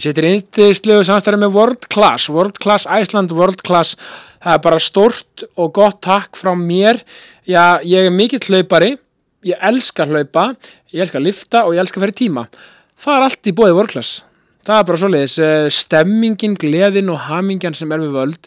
Sittir yndislegu samstæri með World Class, World Class Iceland, World Class Það er bara stort og gott takk frá mér Já, ég er mikill hlaupari, ég elska að hlaupa, ég elska að lifta og ég elska að fyrir tíma Það er allt í bóði World Class Það er bara svoleiðis, eh, stemmingin, gleðin og hamingjan sem er við völd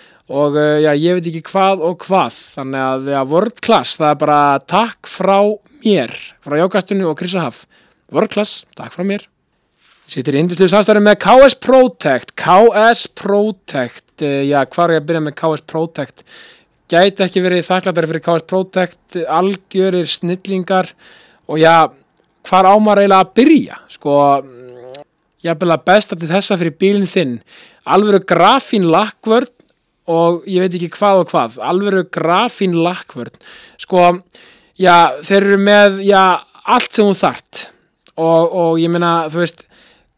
og uh, já, ég veit ekki hvað og hvað þannig að ja, World Class, það er bara takk frá mér frá Jókastunni og Krissa Haf World Class, takk frá mér Sýttir indislu samstæðum með KS Protect KS Protect uh, já, hvað er ég að byrja með KS Protect gæti ekki verið þakklættari fyrir KS Protect algjörir, snillingar og já, hvar ámar eiginlega að byrja sko, jafnvel besta til þessa fyrir bílinn þinn alvöru grafín lakkvörn og ég veit ekki hvað og hvað alvöru grafín lakkvörn sko, já, þeir eru með já, allt sem hún þart og, og ég meina, þú veist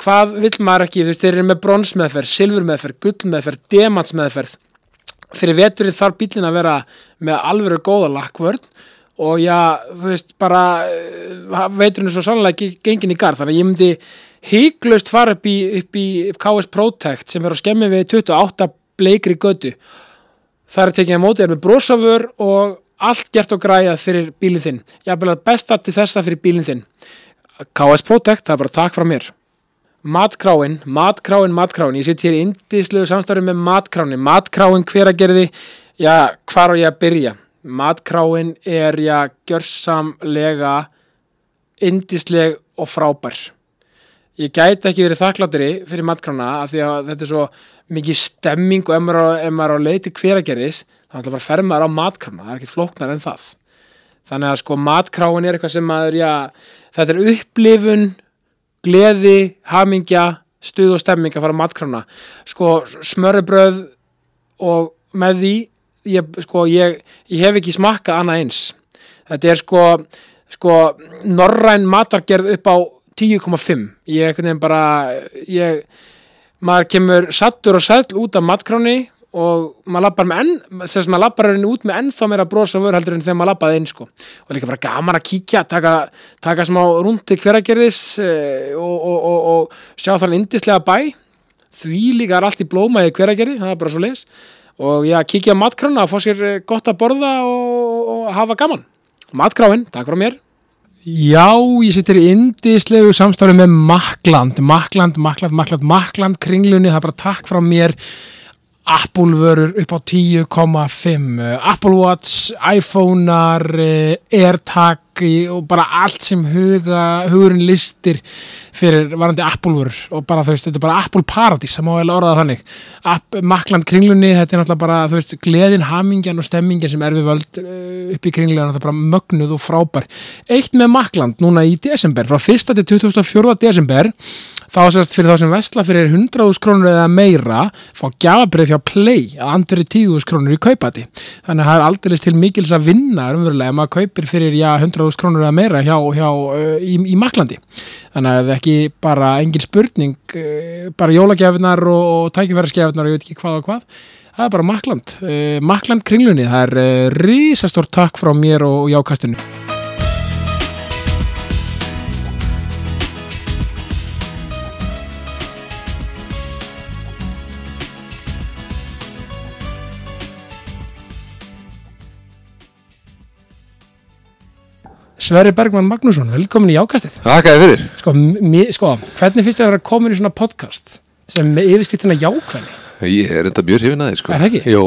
hvað vill maður ekki, þú veist, þeir eru með bronsmeðferð, silfurmeðferð, gullmeðferð demantsmeðferð fyrir veturinn þarf bílinn að vera með alvöru góða lakkvörn og já, þú veist, bara eh, veturinn er svo sannlega ge- gengin í garð þannig að ég myndi hygglust fara upp í, upp í upp KS Protect sem er á skemmi við 28 bleikri götu það er tekið á móti er með brosafur og allt gert og græjað fyrir bílinn þinn jafnvel að besta til þessa fyrir bílinn þinn KS Protect, það er bara takk frá mér Matkráin, matkráin, matkráin Ég sitt hér í indislegu samstarfi með matkráin Matkráin hver að gerði Já, hvar á ég að byrja Matkráin er, já, gjörsamlega Indisleg og frábær Ég gæti ekki verið þakklátri fyrir matkrána af því að þetta er svo mikið stemming og ef maður er á- ef maður er á leiti hver að gerðis þá ætla bara að fer maður á matkrána það er ekkert flóknar en það þannig að sko matkráin er eitthvað sem maður já, þetta er upplifun gleði, hamingja, stuð og stemming að fara á matkrána. Sko, smörrebröð og með því, ég, sko, ég, ég hef ekki smakkað annað eins. Þetta er sko, sko, norræn matargerð upp á 10,5. Ég einhvern veginn bara, ég, maður kemur sattur og sæll út af matkráni og maður lappar með enn, sem sem maður lappar henni út með ennþá meira brosa vör heldur en þegar maður lappaði inn sko. Og líka bara gaman að kíkja, taka, taka smá rúndi hveragerðis eh, og, og, og, og sjá þann indislega bæ. Því líka er allt í blóma í hveragerði, það er bara svo leis. Og já, kíkja á matkrána að fá sér eh, gott að borða og, og hafa gaman. Matkráin, takk frá mér. Já, ég sittir í indislegu samstarfi með Makland, Makland, Makland, Makland, Makland, kringlunni, það er bara takk frá mér, Apple vörur upp á 10,5, eh, Apple Watch, iPhone-ar, eh, AirTag í- og bara allt sem huga, hugurinn listir fyrir varandi Apple vörur og bara þú veist, þetta er bara Apple Paradís, það má vel orða það þannig. App, Makland kringlunni, þetta er náttúrulega bara, þú veist, gleðin, hamingjan og stemmingin sem er við völd eh, upp í kringlunni, það er bara mögnuð og frábær. Eitt með Makland núna í desember, frá 1. til 24. desember, þá sérst fyrir þá sem vesla fyrir 100.000 krónur eða meira, fá gjafabrið hjá Play að andri 10.000 krónur í kaupati. Þannig að það er aldrei til mikils að vinna, umverulega, ef maður kaupir fyrir já, 100.000 krónur eða meira hjá, hjá, eh, í, í Maklandi. Þannig að ekki bara engin spurning, eh, bara jólagjafinar og, og tækifæraskjafinar og ég veit ekki hvað og hvað. Það er bara Makland, uh, Makland kringlunni, það er uh, risastór takk frá mér og, og jákastinu. Sverri Bergmann Magnússon, velkomin í jákastið. Þakkaði fyrir. Sko, m- mér- sko, hvernig finnst þér að vera komin í svona podcast sem með yfirskriftina jákvæðni? Ég er enda mjög hrifin aðeins, sko. Er það ekki? Jó,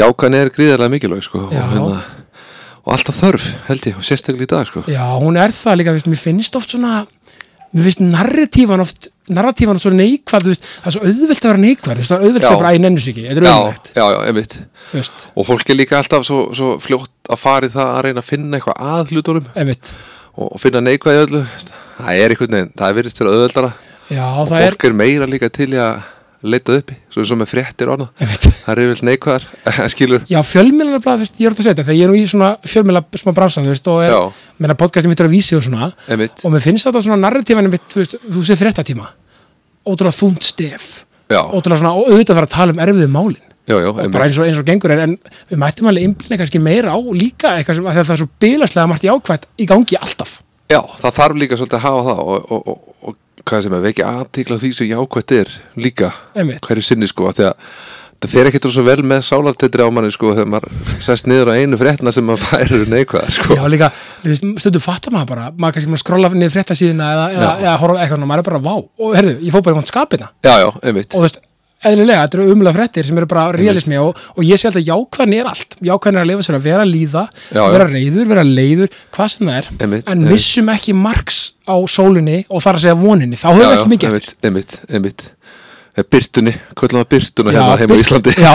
jákan er gríðarlega mikilvæg, sko. Já. Og, og alltaf þörf, held ég, og sérstaklega í dag, sko. Já, hún er það líka, þú veist, mér finnst oft svona, mér finnst narratífan oft, narratífan svo neikvæð, þú veist, það er svo auðvelt að vera neikvæð, þú veist, það er auðvelt Já. að bara einn ennus ekki, þetta er auðvelt, já, já, einmitt. þú veist, Og fólk er líka alltaf svo, svo fljótt að fara í það að reyna að finna eitthvað að hlutunum einmitt. og, og finna neikvæði öllu. Það er einhvern veginn, það er virðist fyrir auðveldara. Já, Og það er, fólk er meira líka til í að leitað uppi svo eins og með fréttir og annað Einmitt. það er yfirlega neikvæðar skilur Já, fjölmiðlar er bara, þú veist, ég er út að setja þegar ég er nú í svona fjölmiðla smá bransan, þú veist og er, já, meina podcastin mitt er að vísi og svona emitt, og mér finnst þetta svona narratífinu mitt, þú veist, þú sé fréttatíma ótrúlega þúnt stef já, ótrúlega svona, og auðvitað þarf að tala um erfiðu málin já, já, og bara emitt eins og, eins og gengur er, en við mættum alveg einblina kannski meira á líka eitthvað sem, af því að það er svo bilaslega margt jákvætt í gangi alltaf já, það þarf líka svolítið að hafa það og, og, og, og hvað sem er vekja aðtikla því sem jákvætt er líka Einmitt. hverju sinni sko, af því að það fer ekkert svo vel með sálartetri á manni sko þegar maður sest niður á einu fréttina sem maður færir neikvæðar sko Já, líka, þú veist, stundum fattar maður bara maður kannski maður skrolla niður fréttasíðuna eða, eða, Já. eða horfa á eitthvað svona, maður er bara vá og herðu, ég fór bara einhvern skapina já, já, emitt, og þú veist, eðlilega, þetta eru umlega fréttir sem eru bara realismi og, og ég sé alltaf jákvæðan er allt jákvæðan er að lifa sér að vera líða Já, já. vera reyður, vera leiður, hvað sem það er Einmitt, en einmitt. missum ekki margs á sólinni og þar að segja voninni, þá höfum já, við já, ekki mikið eftir emitt, emitt, emitt Byrtunni, kvöldum að Byrtuna Já, hérna heima á birt- Íslandi Já,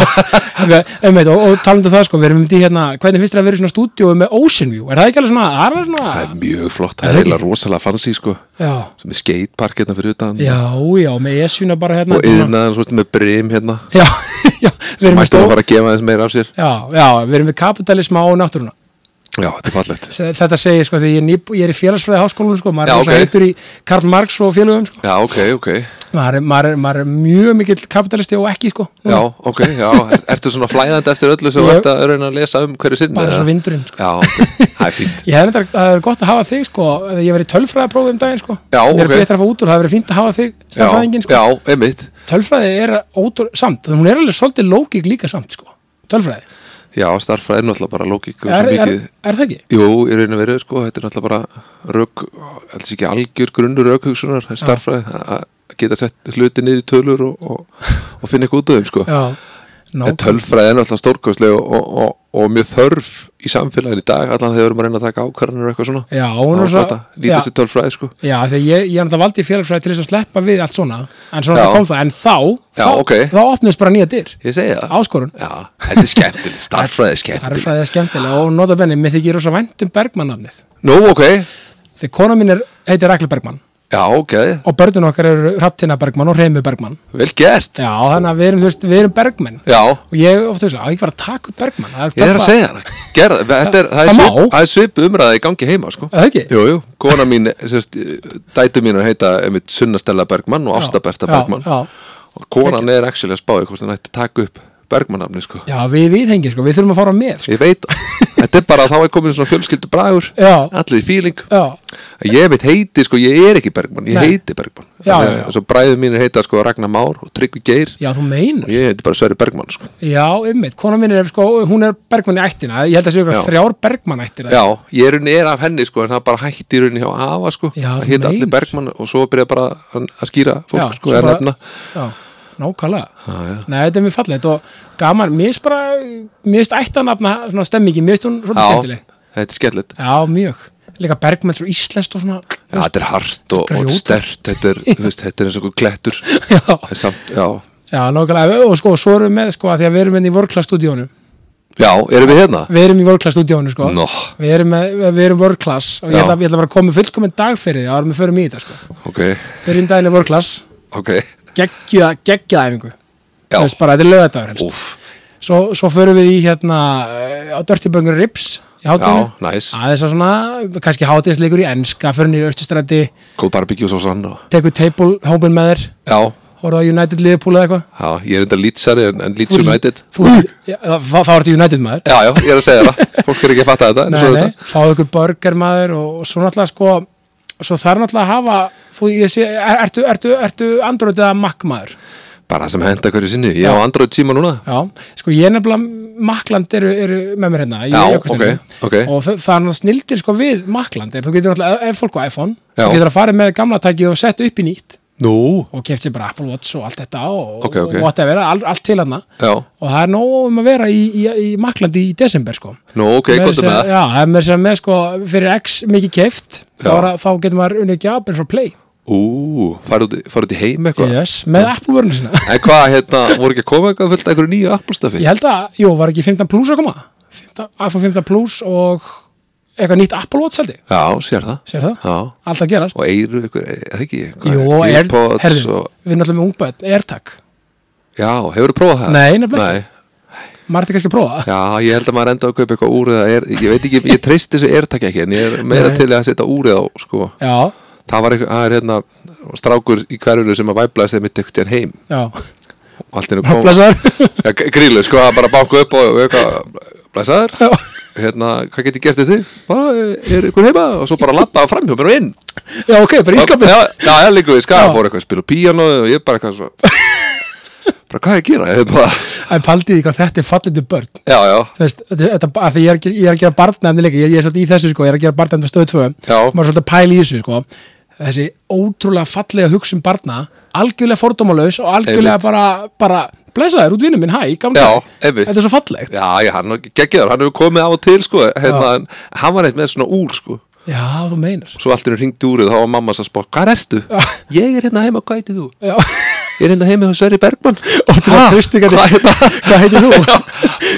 ok, einmitt, og, og talandu það sko, við erum um því hérna, hvernig finnst þér að vera í svona stúdíu með Ocean View, er það ekki alveg svona, það er alveg svona, Það er mjög flott, Er það það er eiginlega rosalega fancy sko já, sem er skatepark hérna fyrir utan já, já, með esjuna bara hérna, og yðnaðan svolítið með brim hérna já, já, við erum með mættum að stóð, fara að gefa þess meira af sér já, já, við erum með kapitalisma og náttúruna, Já, þetta er fallegt Se- þetta segir sko því ég er, nýb, ég er í félagsfræði háskólanum sko maður Já, er okay. ok. heitur í Karl Marx og félögum sko Já, ok, ok maður er, maður er, maður er mjög mikill kapitalisti og ekki sko Já, ok, já, er- ertu svona flæðandi eftir öllu sem Ég- ert að reyna að lesa um hverju sinni bara eða? svo vindurinn sko. Já, ok, það er fínt ég hef þetta, það er gott að hafa þig sko þegar ég verið tölfræðaprófi um daginn sko Já, mér er ok. betra að fá út úr, það verið fínt að hafa þig Já, stafræðingin sko, já, einmitt tölfræði er ótrú, samt, þannig hún er alveg svolítið lógik líka samt sko, tölfræði Já, starffræði er náttúrulega bara lógík og svo er, er, mikið er það ekki? Jú, í raun og veru, sko, þetta er náttúrulega bara rauk, alls ekki algjör grunnur raukhugsunar, starffræði að að geta sett hluti niður í tölur og, og, og finna eitthvað út af þeim, sko Já, En nákvæm tölfræði er náttúrulega stórkostlega og, og, og, og mjög þörf í samfélagin í dag allan þegar við erum að reyna að taka ákvarðanir og eitthvað svona Já, hún þá er er svo gott að lítast í tölfræði sko Já, þegar ég, ég er náttúrulega valdi í félagsfræði til þess að sleppa við allt svona en svona Já. kom það, en þá Já, þá, ok. þá opnist bara nýja dyr, Ég segi það áskorun Já, þetta er skemmtilegt, Það starffræði er er skemmtilegt fræðið skemmtilega og nota benni, mér þykir rosa vænt um Bergmann-nafnið Nú, ok, þegar kona mín er, heitir Rækla Bergmann já, ok, og börnun okkar eru Hraftina Bergmann og Reimi Bergmann vel gert Já, Já, þannig að við erum, þú veist, við erum Bergmann og ég ofta þess að ég var að taka upp Bergmann það ég er að töffa- segja það Gerða, þetta er, það Það er, svip, má. Eh. það er svip umræði í gangi heima sko Er Það ekki? Jú, jú, kona mín, sérst, dætu mín heita einmitt Sunna Stella Bergmann og Ásta Berta Já, Bergmann Já, og konan er actually að spáði hvort hann ætti að taka upp Bergmann-nafni sko já, við viðhengi, sko, við þurfum að fara með sko. Ég veit, þetta er bara að þá er komin svona fjölskyldu bragur Já, Allir í fíling já, Ég veit heiti, sko, ég er ekki Bergmann, ég Nei. heiti Bergmann Já, Þannig já, að já. Svo bræður mínir heita sko Ragnar Már og Tryggvi Geir já, þú meinar og Ég heiti bara Sverri Bergmann, sko Já, ymmit, kona mín er, sko, hún er Bergmann í ættina, ég held að sé ykkur Já. þrjár Bergmann ættir Já, ég er unni er af henni, sko, en það bara hætti í rauninni hjá afa, sko Já, Það þú heita meinar. allir Bergmann og svo byrja bara að að skýra fólk, Já, sko, svo er bara- Ah, nefna já, nákvæmlega Já, já, Nei, þetta er mjög fallegt og gaman, mér finnst bara, mér finnst ættanafna svona stemmingi, mér finnst hún svona já skemmtileg. þetta er skemmtilegt Já, mjög. Líka Bergmann svo íslenskt og svona, Já, þetta er hart og, og Grjót. stert, þetta er, þú veist, þetta er eins og einhver klettur já, En Samt, já, já, nákvæmlega. Og sko, svo erum við með, sko, að því að við erum með í World-Class stúdíónu. já, erum við hérna? Við erum í World-Class stúdíónu, sko. Nó, Við erum, með, við erum World-Class og ég Já. ætla, ég ætla bara að koma með fullkominn dag fyrir því, árum við förum í þetta, sko. ok, Byrjum daginn er World-Class, ok, geggja, geggjaðæfingu. já, Þú veist bara, þetta er lögadagur helst. úff Svo, svo förum við í, hérna, eh, á Dirty Bunker Rips í hátíðinu. Já, næs, aðeins að svona, kannski hátíðisleikur í enska, fyrir nýri austustræti góð barbecue svo sann og... tekur table hópin með þér Já, horfðu á United Liverpool eða eitthvað já, ég er enda Leedsari en, en Leeds Þú- United Þú- Já, þá- þá þá ertu United maður Já, já, ég er að segja það, fólk er ekki að fatta þetta en nei, svo nei, er þetta. fáðu ykkur burger maður og, og svo náttúrulega sko svo þarf náttúrulega að hafa þú, ég sé, er, ertu, ertu, ertu Android eða Mac maður Bara það sem henda hverju sinni, ég á Android síma núna já, sko ég er nefnilega Macland eru, eru með mér hérna í Já, ok, ökustyrinu. og ok það, það er náttúrulega snildir sko við Macland er, þú getur náttúrulega, ef fólk á iPhone Já. þú getur að fara með gamla tæki og setja upp í nýtt Nú, og kefti sér bara Apple Watch og allt þetta og, Ok, ok. og whatever, all, allt til hann og já, það er nóg um að vera í, í, í maklandi í desember sko nú, ok, Meira gott segja- með það Já, það er með sér með sko fyrir X mikið keft þá, Já. er að- þá getur maður unnið ekki Apple frá Play Ú, farið út, fara út í heim eitthvað yes, með Apple vörinu sinna En hvað, hérna, voru ekki að koma eitthvað fullt af einhverju nýju Apple-stafi? Ég held að, jú, var ekki 15 plus að koma 15, iPhone 15 plus og eitthvað nýtt Apple Watch held ég, Já, sér það sér það, Já, allt að gerast og eiru eitthvað, eða ekki Jú, og Air- Airpods herðu, og við erum náttúrulega með ungböðn, AirTag Já, hefurðu prófað það? Nei, nefnilega Nei. maður ætti kannski að prófa Já, ég held að maður enda að kaupa eitthvað úr eða er, ég veit ekki, ég treyst þessu ertakja ekki en ég er meira Nei. til að setja úrið á sko. já, það var eitthvað, það er hérna strákur í hverjunu sem að væblaðist þeim mitt ekkert heim já, og allt hennu kom, blessaður ja, grílu sko, það bara báku upp og og eitthvað, blæsaður Já. hérna, hvað get ég gert eftir þig? Bara, er ykkur heima? Og svo bara labbaði framhjá mér og inn já, ok, bara ískapin Já, já, já, líka við Já. skaf, fór eitthvað að spila píano og ég bara eitthvað svo bara hvað er að gera? Ég bara, en paldið því hvað þetta er fallið til börn já, já, Þú veist, þetta, þetta, að því ég er, að gera- ég er að gera barnefni líka, ég, ég er svolítið í þessu sko, ég er að gera barnefni stöðu tvö, Já. maður er svolítið að pæla í þessu sko, þessi ótrúlega fallega hugsun barna, algjörlega fordómalaus og algjörlega Einmitt. bara, bara blessaður út vinnu minn, hæ, gamla Já, einmitt. þetta er svo fallegt, já, já, hann geggjör hann hefur komið á og til, sko hérna, en hann var eitt með svona úr, sko já, þú meinar svo allt henni ringdi úrið, þá var mamma að spá hvað ertu? Ég er hérna heima, hvað heitir þú? já, Ég er hérna heima hjá Sverri Bergmann og til að kristi hvað heitir þú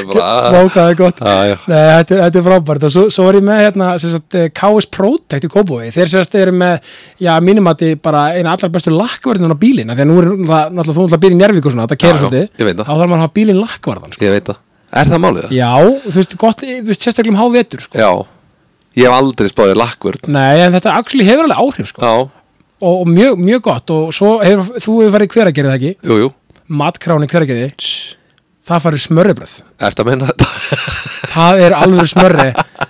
Bara- vákaði gott Já, já. Nei, þetta, er- þetta er frábært og svo, svo er ég með hérna, sem sagt, eh, KS Protect í Kóbúi, þeir sem sagt eru með já, mínumati bara eina allar bestu lakkvörðin á bílinn, af því að nú er náttúrulega náttúrulega þú náttúrulega býr í Njárvík og svona, þetta keirir Já, já, svolítið ég veit það. þá þarf maður að hafa bílinn lakkvörðan sko. Ég veit það, er það málið það? já, þú veist, gott, þú veist, sérstaklega um hávetur sko. Já, ég hef aldrei spáðið lakkvörn nei, en þetta actually hefur alveg áhrif sko. Já, og, og mjög, mjög gott og svo hefur, þú hefur farið í hveragerið það ekki jú, jú, matkráni hveragerið, það farið smörribröð erst að menna þetta? það er alveg smörri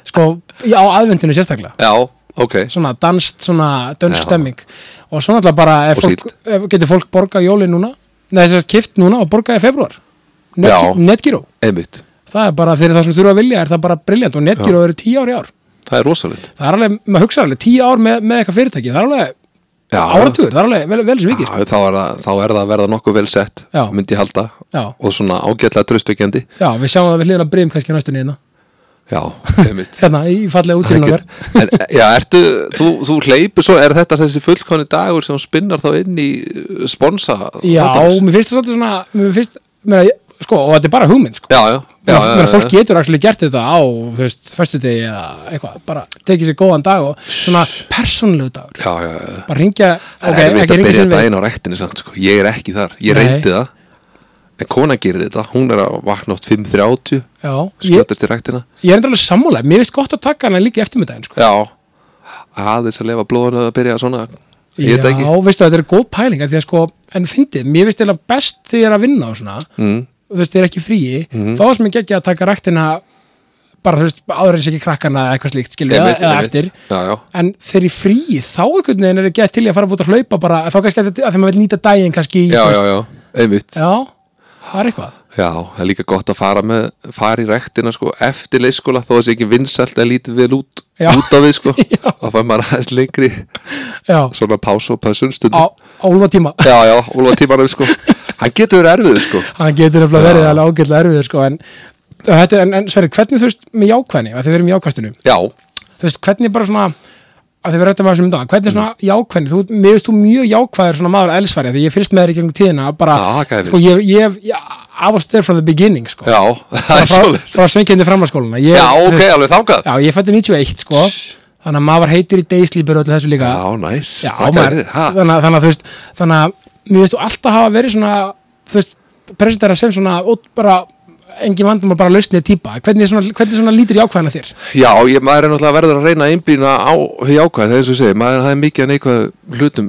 sko, í- á aðvendinu sérstaklega Já, ok, svona danst, svona dönsk Já. stemming og svo náttúrulega bara ef Og fólk, síld. ef, getur fólk borgað jóli núna nei, þess að kift núna og borgað í februar Já. Netgyró, einmitt það er bara fyrir það sem þurfa að vilja er það bara briljant og Netgyró eru tíu ár í ár Það er rosalegt það er alveg, maður hugsa alveg, tíu ár með, með eitthvað fyrirtæki það er alveg Já, áratugur, það er alveg vel, vel sem já vikið þá, er það, þá er það að verða nokkuð vel sett Já. myndi ég halda já, og svona ágætlega tröstveikjandi já, við sjáum það við hliðin að brim kannski á næstunni hérna, Já, einmitt hérna í fallega útíðin okkar en, eh, já, ertu, þú, þú hleypur svo, er þetta þessi fullkonni dagur sem þú spinnar þá inn í uh, sponsa já, þáttarins? mér finnst það svolítið svona mér finnst, mér, sko, og þetta er bara hugmynd sko. já, já, já, Já, já, Menn, fólk já, getur actually gert þetta á þú veist, föstudegi eða eitthvað, bara tekið sér góðan dag og svona persónulegu dagur já, já, já. bara ringja, Það ok, er erfitt ekki að ringja byrja sér við daginn á rættinni samt, sko. ég er ekki þar, ég Nei. reyndi það en kona gerir þetta, hún er að vakna átt 5.30, Já, ég, skjóttast í rættina ég er enda alveg sammála, mér finnst gott að taka hana líka eftir með daginn, sko já, aðeins að lefa blóðan að byrja svona, ég veit ekki Já, veistu, þetta er góð pæling af því að sko, en fyndið, mér finnst þetta best þegar ég er að vinna og svona mm, þú veist, ég er ekki fríi, Mhm. þá er sem ég ekki að taka ræktina bara, þú veist, áður en ég sé ekki krakkana eða eitthvað slíkt, skilur við, einmitt, eða einmitt. eftir já, já, en þeir í fríi, þá einhvern veginn er ekki til í að fara að búta að hlaupa bara, þá kannski að, að þegar maður vil nýta daginn kannski í, já, þú veist, já, já, einmitt já, Já, það er eitthvað það er líka gott að fara með fara í rættina, sko, eftir leikskóla þó að sé ekki vinsælt að lítið vel út Já. út af við, sko, þá fær maður aðeins lengri Já, svona pásu og pössun á, stundum á úlfa tíma já, já, úlfa tímanum, sko hann getur verið erfið, sko Hann getur nefnilega verið alveg ágætlega erfið sko, en, þetta, er- en, en Sverri, hvernig þú veist með jákvæðni, að þið verðum í jákvæðstinu já, þú veist, hvernig bara svona að þið verðum um þetta með þessum dag, hvernig svona Mm. jákvæðni þú, mér veist þú mjög jákvæður svona maður elsfæri því ég fyrst með þér í gegnum tíðina bara, Já, það gæði sko, fyrir. ég, ég, ég af og styrir from the beginning sko, Já, það bara er svolítið. frá, frá sveikindi framhanskóluna Já, ok, alveg þangað. já, ég fætti 91 sko, þannig að maður var heitur í dayslýpur og öllu þessu líka Já, næs. Já, Það maður, gæði fyrir, ha? þannig, að- þannig að þú veist þannig að mér veist þú alltaf hafa verið svona þú veist, presentera sem svona út bara, engin vandum að bara lausnið típa, hvernig svona, hvernig svona lítur jákvæðan að þér? Já, ég, maður er náttúrulega verður að reyna að einbýna á hjákvæð, það er eins og ég segi, maður það er mikið að neikvæð hlutum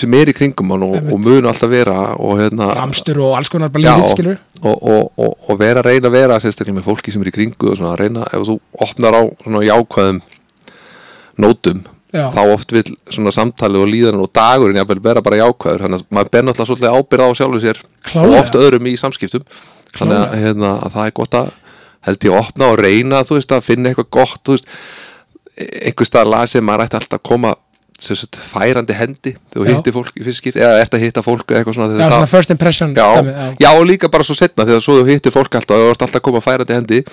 sem er í kringum hann og, Einmitt. og mun alltaf vera og hérna... Amstur og alls konar bara Já, lífið, og, skilur og, og, og vera að reyna að vera sérstaklega með fólki sem er í kringu og svona að reyna, ef þú opnar á svona jákvæðum nótum, Já, þá oft vil svona samtalið og líðan og dagurinn jáfnvel vera bara jákvæður, þannig að maður ber náttúrulega svolítið ábyrða á sjálfu sér og klálega oft öðrum í samskiptum þannig að, Klárlega. hérna, að það er gott að held ég að opna og reyna þú veist að finna eitthvað gott þú veist einhver staðar lasið maður ætti alltaf að koma sem sagt, færandi hendi þegar þú Já. hittir fólk í fyrst skipt eða ert að hitta fólk eða eitthvað svona Já, þegar svona það, first impression já, dæmi, já, og líka bara svo setna þegar svo þú hittir fólk alltaf og þú ert alltaf að koma færandi hendi